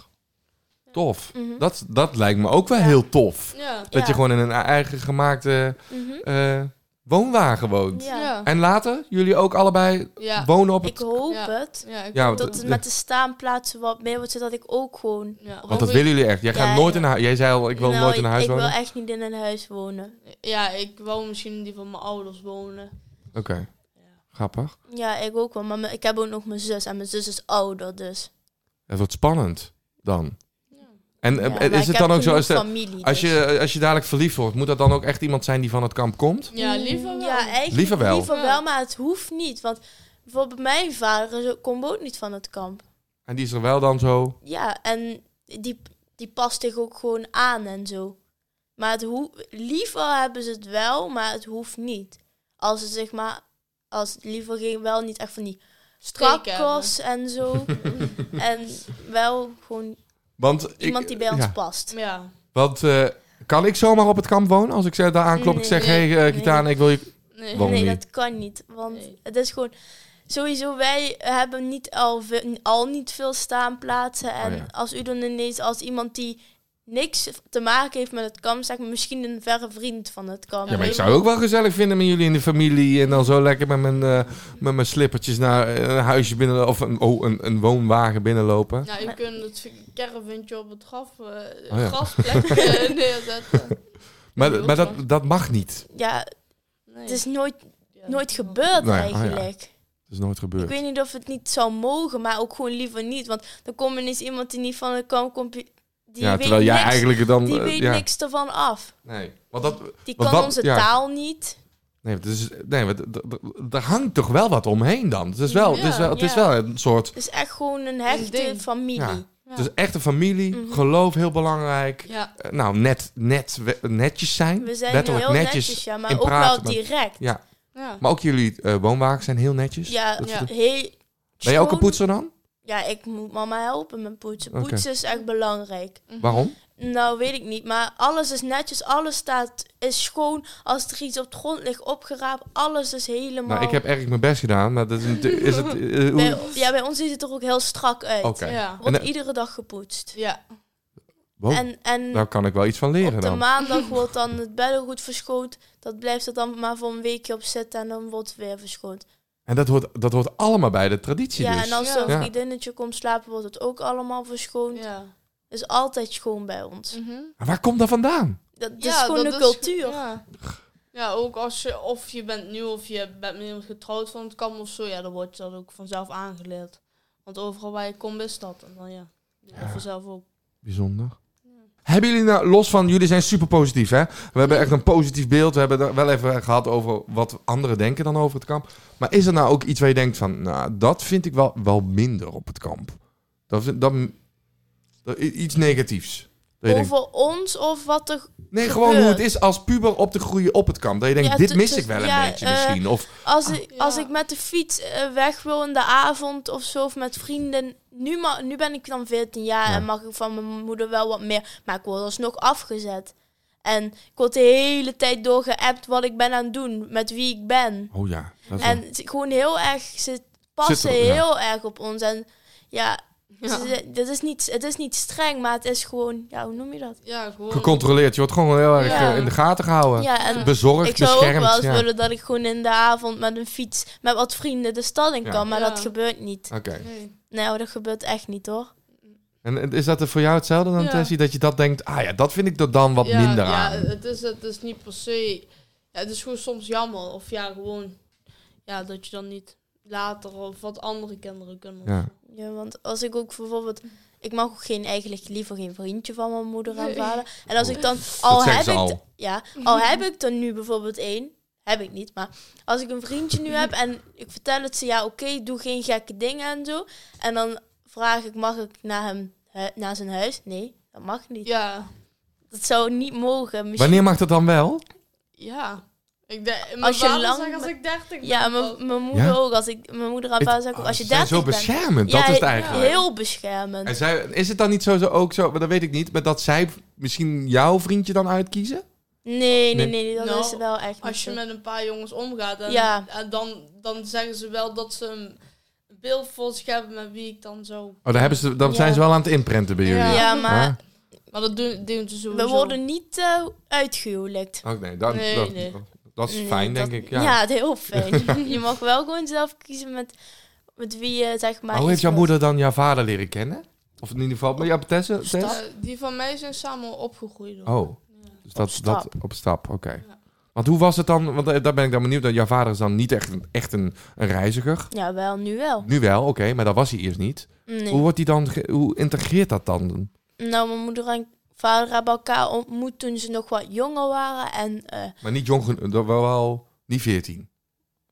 Tof. Mhm. Dat, dat lijkt me ook wel Ja. heel tof. Ja. Dat Ja. je gewoon in een e- eigen gemaakte Mhm. eh, woonwagen woont. Ja. Ja. En later, jullie ook allebei Ja. wonen op Ik het... hoop Ja. het. Ja, ik- Ja, want, Dat dat- het met de staanplaatsen wat meer wordt, zodat ik ook gewoon... ja. want dat willen jullie echt. Jij gaat Ja, nooit ja. in een huis... Jij zei al, ik wil Nou, nooit in een huis ik, wonen. Ik wil echt niet in een huis wonen. Ja, ik wou misschien in die van mijn ouders wonen. Oké. Grappig. Ja, ik ook wel. Maar me- ik heb ook nog mijn zus. En mijn zus is ouder, dus... Het wordt spannend dan. En eh, Ja, maar is ik het dan heb ook zo... Als, genoeg de- familie, als, dus. je, als je dadelijk verliefd wordt, moet dat dan ook echt iemand zijn die van het kamp komt? Mm, Ja, liever wel. Ja, eigenlijk Liever wel. Liever Ja. wel, maar het hoeft niet. Want bijvoorbeeld mijn vader is ook- komt ook niet van het kamp. En die is er wel dan zo... Ja, en die, die past zich ook gewoon aan en zo. Maar het hoe liever hebben ze het wel, maar het hoeft niet. Als ze zeg maar, als het liever ging wel niet echt van die Streken kakkos en (laughs) zo. en wel gewoon Want ik- iemand die bij ons ja. past. hebben. Ja. Want eh, kan ik zomaar op het kamp wonen? Als ik ze daar aanklop, ik Nee. zeg, hé Nee. hey, eh, Kitana, ik wil je... Nee, Nee. Waarom nee, niet? dat kan niet. Want Nee. het is gewoon... Sowieso, wij hebben niet al, ve- al niet veel staanplaatsen. En Oh ja. als u dan ineens als iemand die niks te maken heeft met het kamp, zeg maar misschien een verre vriend van het kamp. Ja, maar ik zou het ook wel gezellig vinden met jullie in de familie. En dan zo lekker met mijn, eh, met mijn slippertjes naar eh, een huisje binnen. Of een, oh, een, een woonwagen binnenlopen. Nou, je kunt het caravantje op het graf, eh Oh ja. grasplek eh, (laughs) neerzetten. Maar, maar dat, dat mag niet. Ja, Nee. het is nooit, Ja. nooit gebeurd Nou ja, oh ja. eigenlijk. Dat is nooit Ik gebeurd. weet niet of het niet zou mogen, maar ook gewoon liever niet. Want dan komt ineens iemand die niet van het kamp komt. Die Ja, weet terwijl jij niks, eigenlijk het dan... Die eh, weet ja. niks ervan af. Nee, want dat... Die Want kan wat- onze ja. taal niet. Nee, het is, nee want d- d- d- er hangt toch wel wat omheen dan. Het is wel, het is Ja, wel, het is ja. wel een soort... Het is echt gewoon een hechte ding. familie. Ja. Ja. Ja. Het is echt een familie. Mhm. Geloof heel belangrijk. Ja, Eh, nou, net, net, we- netjes zijn. We zijn Letterlijk heel netjes, ja, maar in ook wel praten, maar- direct. Ja. ja. Maar ook jullie eh, woonwagens zijn heel netjes. Ja, Dat- Ja. dat- heel. Ben je ook een schoon. poetser dan? Ja, ik moet mama helpen met poetsen. Oké. Poetsen is echt belangrijk. Waarom? Nou, weet ik niet, maar alles is netjes, alles staat, is schoon. Als er iets op de grond ligt opgeraapt, alles is helemaal... Nou, ik heb eigenlijk mijn best gedaan, maar dat is, natu- is (laughs) het... eh, hoe- Bij, ja, bij ons ziet het er ook heel strak uit. Oké. Ja. Wordt En, Oh, eh, iedere dag gepoetst. Ja. Wow, en en daar kan ik wel iets van leren op de dan. (laughs) maandag wordt dan het beddengoed verschoond. Dat blijft er dan maar voor een weekje op zitten en dan wordt het weer verschoond. En dat hoort, dat hoort allemaal bij de traditie Ja, dus. en als Ja. er Ja. een vriendinnetje komt slapen, wordt het ook allemaal verschoond. Ja. is altijd schoon bij ons. Mhm. Maar waar komt dat vandaan? Dat, dat Ja, is gewoon dat de is- cultuur. ja. Ja, ook als je of je bent nieuw of je bent met iemand getrouwd van het kamp of zo, ja, dan wordt je dat ook vanzelf aangeleerd. Want overal waar je komt is dat. En dan ja, doe je dat vanzelf ook. Bijzonder. Hebben jullie nou, los van, jullie zijn super positief, hè? We hebben echt een positief beeld. We hebben het wel even gehad over wat anderen denken dan over het kamp. Maar is er nou ook iets waar je denkt van, nou, dat vind ik wel, wel minder op het kamp? Dat, vind- dat, dat- i- iets negatiefs. Dat je denkt, Over ons of wat er... nee, gewoon hoe het is als puber op te groeien op het kamp. Dat je denkt, Ja, dit te- mis te- ik wel een ja, beetje eh, misschien. Of, Als, ik, Ah, ja. als ik met de fiets eh, weg wil in de avond of zo, of met vrienden. Nu, ma- nu ben ik dan 14 jaar Ja. en mag ik van mijn moeder wel wat meer. Maar ik word alsnog afgezet. En ik word de hele tijd doorgeappt wat ik ben aan het doen, met wie ik ben. oh ja, dat is wel- En het- gewoon heel erg, ze passen Zit er- ja. heel erg op ons. En ja, Ja, ze- ze- dat is niet, het is niet streng, maar het is gewoon, ja, hoe noem je dat? ja gewoon. gecontroleerd. Je wordt gewoon heel erg Ja. eh, in de gaten gehouden. Ja, en Bezorgd, ik zou ook beschermd. wel eens ja. willen dat ik gewoon in de avond met een fiets met wat vrienden de stad in Ja. kan, maar Ja. dat gebeurt niet. Oké. Nee. Nou, dat gebeurt echt niet hoor. En en is dat er voor jou hetzelfde dan, Ja. Tessie? Dat je dat denkt, ah ja, dat vind ik er dan wat ja, minder ja, eh, aan. Het is, het is niet per se. Ja, het is gewoon soms jammer. Of ja, gewoon. Ja, dat je dan niet later of wat andere kinderen kunnen. Ja. Ja, want als ik ook bijvoorbeeld, ik mag ook geen eigenlijk liever geen vriendje van mijn moeder en vader. En als ik dan al zeggen heb ze ik, al. ja, Mhm. al heb ik dan nu bijvoorbeeld één, heb ik niet, maar als ik een vriendje nu heb en ik vertel het ze, ja, oké, doe geen gekke dingen en zo, en dan vraag ik, mag ik naar hem, eh, naar zijn huis? Nee, dat mag niet. Ja, Dat zou niet mogen. Misschien Wanneer mag dat dan wel? ja. Ik denk, mijn Als je vader lang- zegt als ik 30 ben. Ja, pas. mijn mijn moeder Ja? ook. Als ik, mijn moeder en Het- vader zeggen, ook, oh, als je ze zijn 30 zo bent. beschermend, dat Ja, is het eigenlijk. Heel beschermend. En zij, is het dan niet zo, zo ook zo, maar dat weet ik niet, maar dat zij misschien jouw vriendje dan uitkiezen? Nee, Nee. nee, nee, dat Nou, is wel echt niet Als je zo. met een paar jongens omgaat, en, Ja. en dan, dan zeggen ze wel dat ze een beeld voor zich hebben met wie ik dan zo. Oh, dan, hebben ze, dan Ja. zijn ze wel aan het inprenten bij jullie. Ja. Ja, maar Huh? Maar dat doen, doen ze sowieso. we worden niet eh uitgehuwelijkt. Oh, nee, dan, Nee, dat, nee. dat is Nee, fijn, dat- denk ik. Ja. ja, heel (laughs) fijn. je mag wel gewoon zelf kiezen met, met wie je, zeg maar... maar hoe heeft iets jouw wilt. moeder dan jouw vader leren kennen? Of in ieder geval, maar ja, Tess? Tess? Eh, die van mij zijn samen opgegroeid. hoor. Oh, dus dat, stap. dat op stap, oké. Want hoe was het dan, want eh, daar ben ik dan benieuwd, dat jouw vader is dan niet echt, een- echt een, een reiziger. Ja, wel, nu wel. Nu wel, oké, maar dat was hij eerst niet. Nee. Hoe, wordt die dan ge- hoe integreert dat dan? Nou, mijn moeder en vader hebben elkaar ontmoet toen ze nog wat jonger waren. En eh, Maar niet jong genoeg, dat wel, wel niet 14.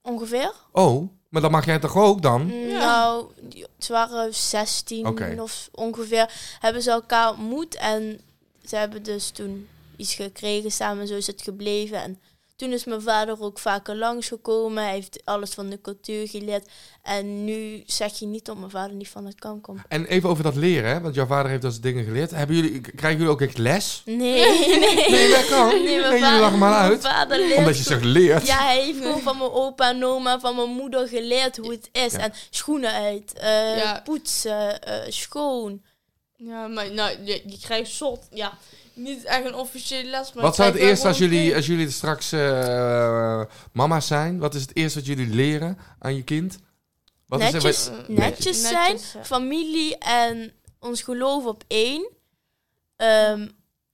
ongeveer? Oh, maar dan mag jij toch ook dan? Mm, Ja. Nou, die- ze waren 16 Oké. of ongeveer. Hebben ze elkaar ontmoet en ze hebben dus toen iets gekregen samen. Zo is het gebleven. En Toen is mijn vader ook vaker langsgekomen. Hij heeft alles van de cultuur geleerd. En nu zeg je niet dat mijn vader niet van het (laughs) kamp komt. En even over dat leren, hè, want jouw vader heeft dat soort dingen geleerd. Hebben jullie, k- krijgen jullie ook echt les? Nee, (laughs) nee. Nee, dat kan. Nee, mijn jullie vader- lachen maar mijn uit. vader leert Omdat je zegt leert. Ja, hij heeft gewoon van mijn opa en oma, van mijn moeder geleerd hoe het is. Ja. En schoenen uit, eh, Ja. poetsen, eh, schoon. Ja, maar nou, je, je krijgt zot. Ja, niet echt een officiële les. Maar Wat zou je het krijgt eerst wel als gewoon jullie, een als jullie straks eh, mama's zijn? Wat is het eerste wat jullie leren aan je kind? Wat netjes, Mm. Is er, wat- netjes, Netjes, zijn, ja. familie en ons geloof op één. Ehm,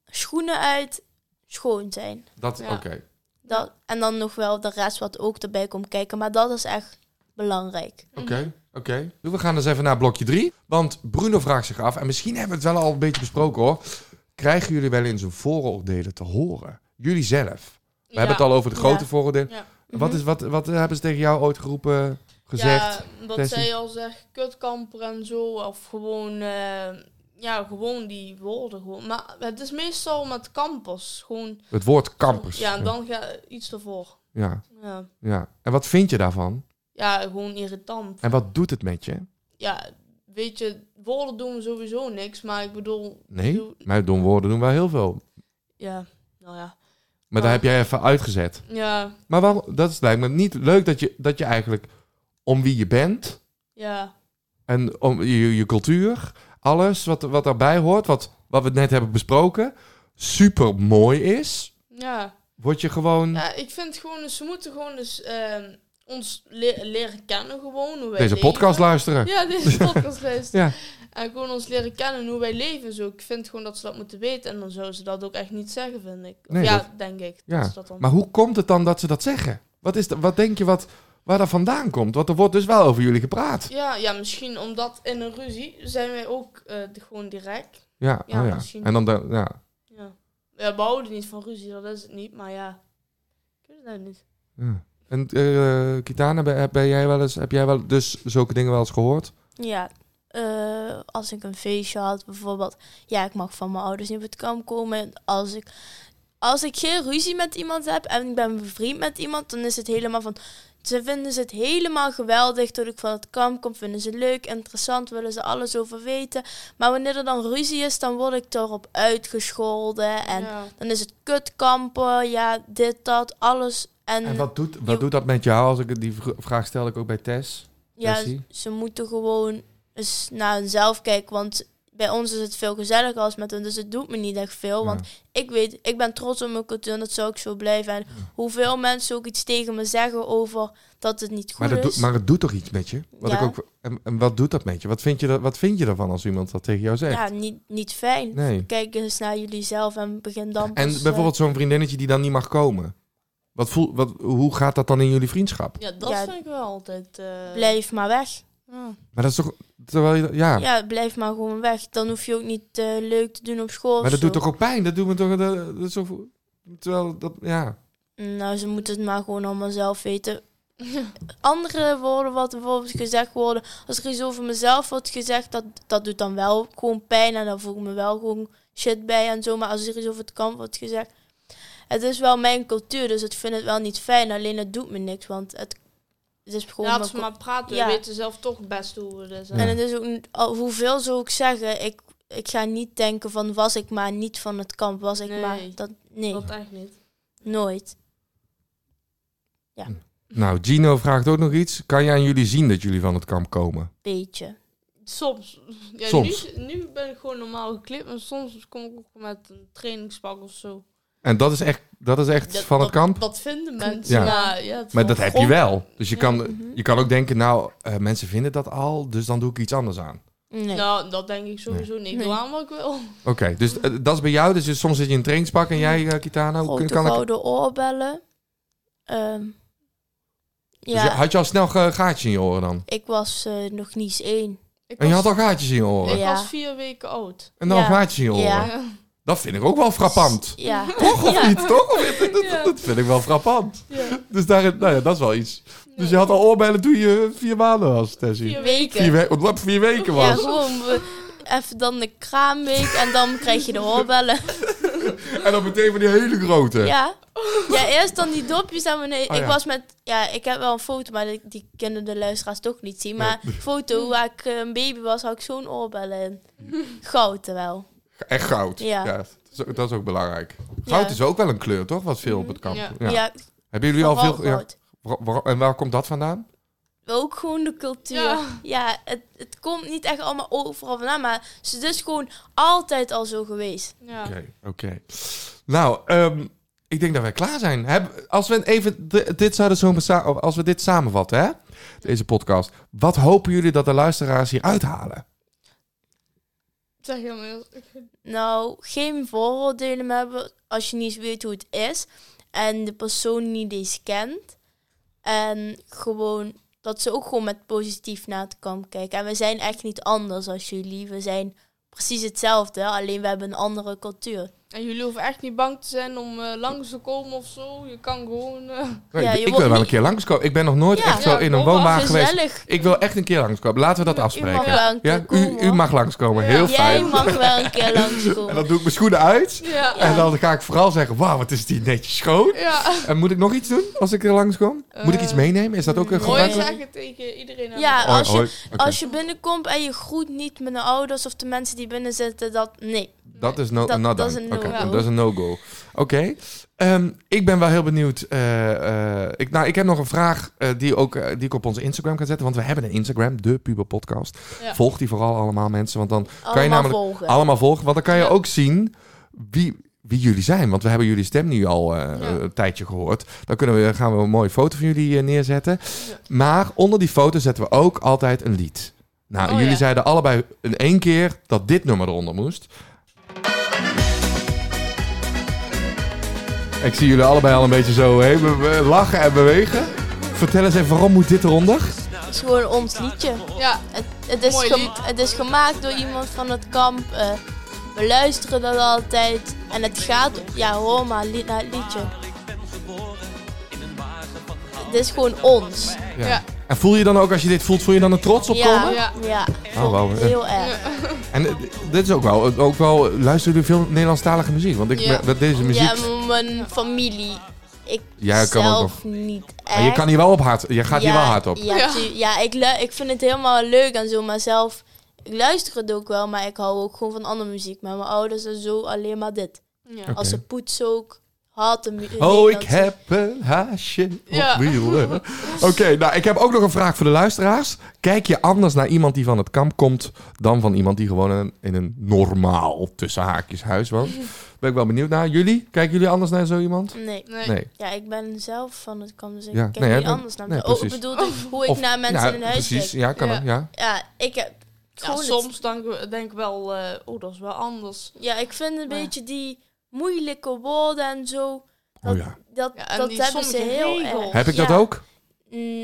schoenen uit, schoon zijn. dat, Ja. oké. Dat, en dan nog wel de rest wat ook erbij komt kijken. Maar dat is echt belangrijk. Mhm. Oké, oké. Nou, We gaan dus even naar blokje 3. Want Bruno vraagt zich af, en misschien hebben we het wel al een beetje besproken hoor. Krijgen jullie wel eens een vooroordelen te horen? Jullie zelf. We Ja. hebben het al over de grote Ja. vooroordelen. Ja. Mhm. Wat, is, wat, wat hebben ze tegen jou ooit geroepen, gezegd? Ja, wat Tessie? zij al zegt, kutkamper en zo. Of gewoon, eh, ja, gewoon die woorden. Gewoon. Maar het is meestal met kampers. Gewoon, Het woord kampers. Ja, en dan ga iets ervoor. ja, Ja. ja. En wat vind je daarvan? ja, gewoon irritant. En wat doet het met je? Ja, weet je, woorden doen sowieso niks. Maar ik bedoel... Nee, doe- maar doen woorden doen wel heel veel. ja, nou ja. Maar daar heb jij even uitgezet. Ja, Maar waarom, dat is, lijkt me niet leuk dat je, dat je eigenlijk om wie je bent ja, en om je, je cultuur, alles wat, wat daarbij hoort, wat, wat we net hebben besproken, super mooi is. ja. Word je gewoon. Ja, ik vind gewoon, dus, ze moeten gewoon dus, ehm, ons le- leren kennen gewoon. Hoe wij deze leven. podcast luisteren. (laughs) (laughs) Ja, deze podcast luisteren. Ja. En gewoon ons leren kennen hoe wij leven. en Zo. Ik vind gewoon dat ze dat moeten weten. En dan zouden ze dat ook echt niet zeggen, vind ik. Of Nee, ja, dat- denk ik. Ja, Dat ze dat dan... Maar hoe komt het dan dat ze dat zeggen? Wat, is dat, wat denk je wat, waar dat vandaan komt? Want er wordt dus wel over jullie gepraat. ja, ja, misschien omdat in een ruzie zijn wij ook eh, de- gewoon direct. Ja, Ja, oh ja. misschien. En dan, dan ja. Ja. ja, we houden niet van ruzie, dat is het niet. Maar ja, ik weet het nou niet. ja. En eh Kitana, ben, ben jij wel eens, heb jij wel dus zulke dingen wel eens gehoord? Mm. Ja, eh, als ik een feestje had bijvoorbeeld. Ja, ik mag van mijn ouders niet op het kamp komen. Als ik, als ik geen ruzie met iemand heb en ik ben bevriend met iemand, dan is het helemaal van... Ze vinden het helemaal geweldig dat ik van het kamp kom. Vinden ze leuk, interessant, willen ze alles over weten. Maar wanneer er dan ruzie is, dan word ik erop uitgescholden. En Ja. dan is het kutkampen, ja, dit, dat, alles. En, En wat doet, wat Je- doet dat met jou? Als ik die vr- vraag stel ik ook bij Tess. Ja, Tessie? ze moeten gewoon eens naar hunzelf kijken. Want bij ons is het veel gezelliger als met hun. Dus het doet me niet echt veel. Want ik weet, ik ben trots op mijn cultuur en dat zou ik zo blijven. En hoeveel mensen ook iets tegen me zeggen over dat het niet goed Maar, dat is. doet, maar het doet toch iets met je? Wat ik Ja. ook, en, en wat doet dat met je? Wat vind je, dat, wat vind je ervan als iemand dat tegen jou zegt? ja, niet, niet fijn. nee. Kijk eens naar jullie zelf en begin dan En pas, eh, bijvoorbeeld zo'n vriendinnetje die dan niet mag komen. Wat voel, wat, hoe gaat dat dan in jullie vriendschap? Ja, dat Ja. vind ik wel altijd... eh, blijf maar weg. ja. Maar dat is toch... Terwijl je, dat- ja, Ja, blijf maar gewoon weg. Dan hoef je ook niet eh, leuk te doen op school. of maar dat doet zo. toch ook pijn? Dat doet me toch... Dat, dat is toch terwijl dat... Ja. Nou, ze moeten het maar gewoon allemaal zelf weten. (laughs) Andere woorden wat er bijvoorbeeld gezegd worden, als er iets over mezelf wordt gezegd, dat, dat doet dan wel gewoon pijn en dan voel ik me wel gewoon shit bij en zo. Maar als er iets over het kamp wordt gezegd, het is wel mijn cultuur, dus ik vind het wel niet fijn. Alleen het doet me niks, want het, het is gewoon Laat mijn ze maar praten. Ja. We weten zelf toch best hoe we dit en het is ook, niet- al hoeveel zou ik zeggen, ik, ik ga niet denken van was ik maar niet van het kamp, was ik Nee. maar dat. Nee, Dat echt niet. nooit. Nou, Gino vraagt ook nog iets. Kan je aan jullie zien dat jullie van het kamp komen? Beetje. Soms. Ja, Soms. Nu, nu ben ik gewoon normaal gekleed, maar soms kom ik ook met een trainingspak of zo. En dat is echt, dat is echt van het kamp? Dat vinden mensen. Ja. Maar, ja, het Maar dat heb je grond- wel. Dus je kan, Mhm. je kan ook denken, nou, eh, mensen vinden dat al, dus dan doe ik iets anders aan. Nee. Nou, dat denk ik sowieso niet. Ik doe aan wat ik wil. Oké, dus eh, dat is bij jou. Dus je- soms zit je in een trainingspak en jij, eh, Kitana, hoe kun- grote kan ik... gouden oorbellen. Ehm, Dus ja, je- had je al snel ge- gaatjes in je oren dan? ik was eh, nog niet eens één. Ik En je was, had al gaatjes in je oren. ik Ja. was vier weken oud. En dan Ja. gaatjes in je oren. Ja. Dat vind ik ook wel frappant. Ja, Toch of niet? Toch? Of (laughs) niet? Dat, Ja. dat vind ik wel frappant. Ja. Dus daar, nou ja, dat is wel iets. Dus je had al oorbellen toen je eh, vier maanden was, Tessie. Vier weken. Vier, we- wat vier weken ja, was. gewoon eh, even dan de kraamweek en dan krijg je de oorbellen. En dan meteen van die hele grote. Ja. ja, eerst dan die dopjes en beneden. Oh, ik ja. was met, ja, ik heb wel een foto, maar die, die kunnen de luisteraars toch niet zien. Maar foto waar ik eh, een baby was, had ik zo'n oorbel in. Goud wel. Echt goud. Ja. Ja. dat, is ook, dat is ook belangrijk. Goud Ja. is ook wel een kleur, toch? Wat veel op het kamp. Ja. Ja, Mhm. Ja. Hebben jullie al vooral veel... Ja. goud. Wa- wa- En waar komt dat vandaan? Ook gewoon de cultuur. Ja. Ja, het, het komt niet echt allemaal overal vandaan, maar het is dus gewoon altijd al zo geweest. Ja. Oké, oké. Nou, ehm, ik denk dat wij klaar zijn. Heb, als we even d- dit zouden zo besa- of als we dit samenvatten, hè? Deze podcast. Wat hopen jullie dat de luisteraars hier uithalen? Zeg hem eens. Nou, geen vooroordelen hebben als je niet weet hoe het is. En de persoon niet eens kent. En gewoon dat ze ook gewoon met positief naar het kamp kijken. En we zijn echt niet anders als jullie. We zijn precies hetzelfde, alleen we hebben een andere cultuur. En jullie hoeven echt niet bang te zijn om eh, langs te komen of zo. Je kan gewoon. eh, Nou, Ja, ik- ik je wordt wil wel een niet- keer langskomen. Ik ben nog nooit Ja. echt zo Ja, in een kom maar, woonwagen geweest. Gezellig. Ik wil echt een keer langskomen. Laten we dat U mag afspreken. wel een keer Ja, u, komen. u mag langskomen. Ja. Heel Jij fijn. mag wel een (laughs) keer En langskomen. dan doe ik mijn schoenen uit. Ja. En dan ga ik vooral zeggen, wauw, wat is die netjes schoon. Ja. En moet ik nog iets doen als ik er langskom? Moet ik iets Eh, meenemen? Is dat ook een Mooi gebruik? zeg. zeggen tegen iedereen. aan Ja, de- als je, Hoi, hoi. als je binnenkomt en je groet niet met de ouders of de mensen die binnen zitten, dat nee. Dat is no, Dat- not dat is done. een Oké, no-go. dat is een no-go. Oké. Ehm, ik ben wel heel benieuwd. eh, eh, ik, nou, ik heb nog een vraag eh, die, ook, eh, die ik op onze Instagram kan zetten. Want we hebben een Instagram, de Puber Podcast. Ja. Volg die vooral allemaal mensen. Want dan Allemaal kan je namelijk volgen. allemaal volgen. Want dan kan je Ja. ook zien wie, wie jullie zijn. Want we hebben jullie stem nu al eh, Ja. een tijdje gehoord. Dan kunnen we, gaan we een mooie foto van jullie eh, neerzetten. Maar onder die foto zetten we ook altijd een lied. Nou, Oh, jullie ja. zeiden allebei in één keer dat dit nummer eronder moest. Ik zie jullie allebei al een beetje zo hè, be- be- lachen en bewegen. Vertel eens even, waarom moet dit eronder? Het is gewoon ons liedje. Ja. Het, het, is Mooi gem- lied. het is gemaakt door iemand van het kamp. eh, we luisteren dat altijd. En het gaat, ja hoor maar, lied na liedje. Het is gewoon ons. Ja. En voel je dan ook, als je dit voelt, voel je dan er trots op Ja, komen? Ja. ja. Oh, wauw. heel erg. En eh, dit is ook wel, ook wel, luisteren jullie veel Nederlandstalige muziek? Want ik, Ja. merk dat deze muziek, Ja, maar mijn familie. Ik Ja, ik kan ook zelf nog. niet echt. Maar Ah, je kan hier wel op hard, je gaat hier wel hard op. Ja, Ja. tu- ja ik, lu- ik vind het helemaal leuk en zo, maar zelf... Ik luister het ook wel, maar ik hou ook gewoon van andere muziek. Maar mijn ouders en zo alleen maar dit. Ja. Als ze poetsen ook, haat de muziek. Oh, ik heb een haasje op Ja. wielen. (laughs) Oké, nou, ik heb ook nog een vraag voor de luisteraars. Kijk je anders naar iemand die van het kamp komt... dan van iemand die gewoon in, in een normaal, tussen haakjes, huis woont? Ben ik wel benieuwd naar. Jullie? Kijken jullie anders naar zo iemand? Nee. Nee. Nee. Ja, ik ben zelf van het kamp, dus ik Ja, kijk nee, hè, niet dan- anders naar nee, mensen. Oh, ik precies. bedoel hoe ik Of- naar mensen ja, in huis Precies, kijk. ja, kan Ja. ook, ja. Ja, ik heb Ja, gewoon het- soms denk, denk ik wel, eh, oh, dat is wel anders. ja, ik vind een Maar- beetje die moeilijke woorden en zo... Dat, Oh ja. dat, Ja, en dat die hebben ze sommige heel regels. erg. Heb ik dat Ja. ook?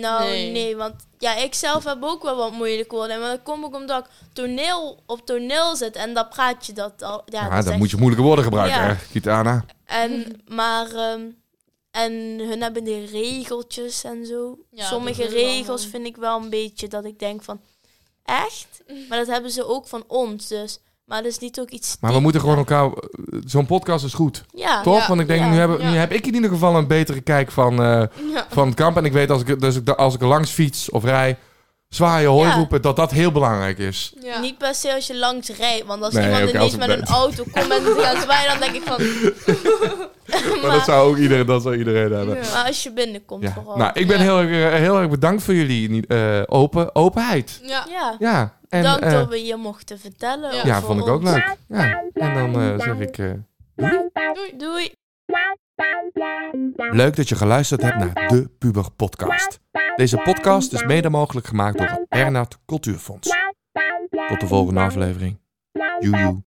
Nou, Nee. nee. want ja, ik zelf heb ook wel wat moeilijke woorden. Maar dat komt ook omdat ik toneel op toneel zit en dan praat je dat al. Ja, Ja, dat is dan echt- moet je moeilijke woorden gebruiken, Ja. hè, Kitana. En, maar, ehm, en hun hebben die regeltjes en zo. Ja, Sommige dat is wel regels een- vind ik wel een beetje dat ik denk van, echt? Maar dat hebben ze ook van ons, dus. Maar dat is niet ook iets... Maar we moeten gewoon elkaar... Zo'n podcast is goed, Ah, Ja, toch? Ja. Want ik denk, Ja. nu, hebben, Ja. nu heb ik in ieder geval een betere kijk van... eh, Ja. van het kamp. En ik weet als ik, dus ik- als ik er langs fiets of rij, zwaaien, hooi Ja. roepen, dat dat heel belangrijk is. Ja. niet per se als je langs rijdt. Want als Nee, iemand ook als ineens ik met ben- een auto komt en ze gaan zwaaien, dan denk ik van... (laughs) (laughs) Maar dat zou ook iedereen, dat zou iedereen hebben. Ja. Ja. Maar als je binnenkomt vooral. Nou, ik ben Ja. heel, erg- heel erg bedankt voor jullie eh, open, openheid. Ja. ja. Ja. En, Dank eh, dat we je mochten vertellen. Ja. over ja, vond ik ook ons. leuk. Ja. En dan eh, zeg ik... eh, Doei. Doei. Leuk dat je geluisterd hebt naar de Puber Podcast. Deze podcast is mede mogelijk gemaakt door het Bernhard Cultuurfonds. Tot de volgende aflevering. Joejoe.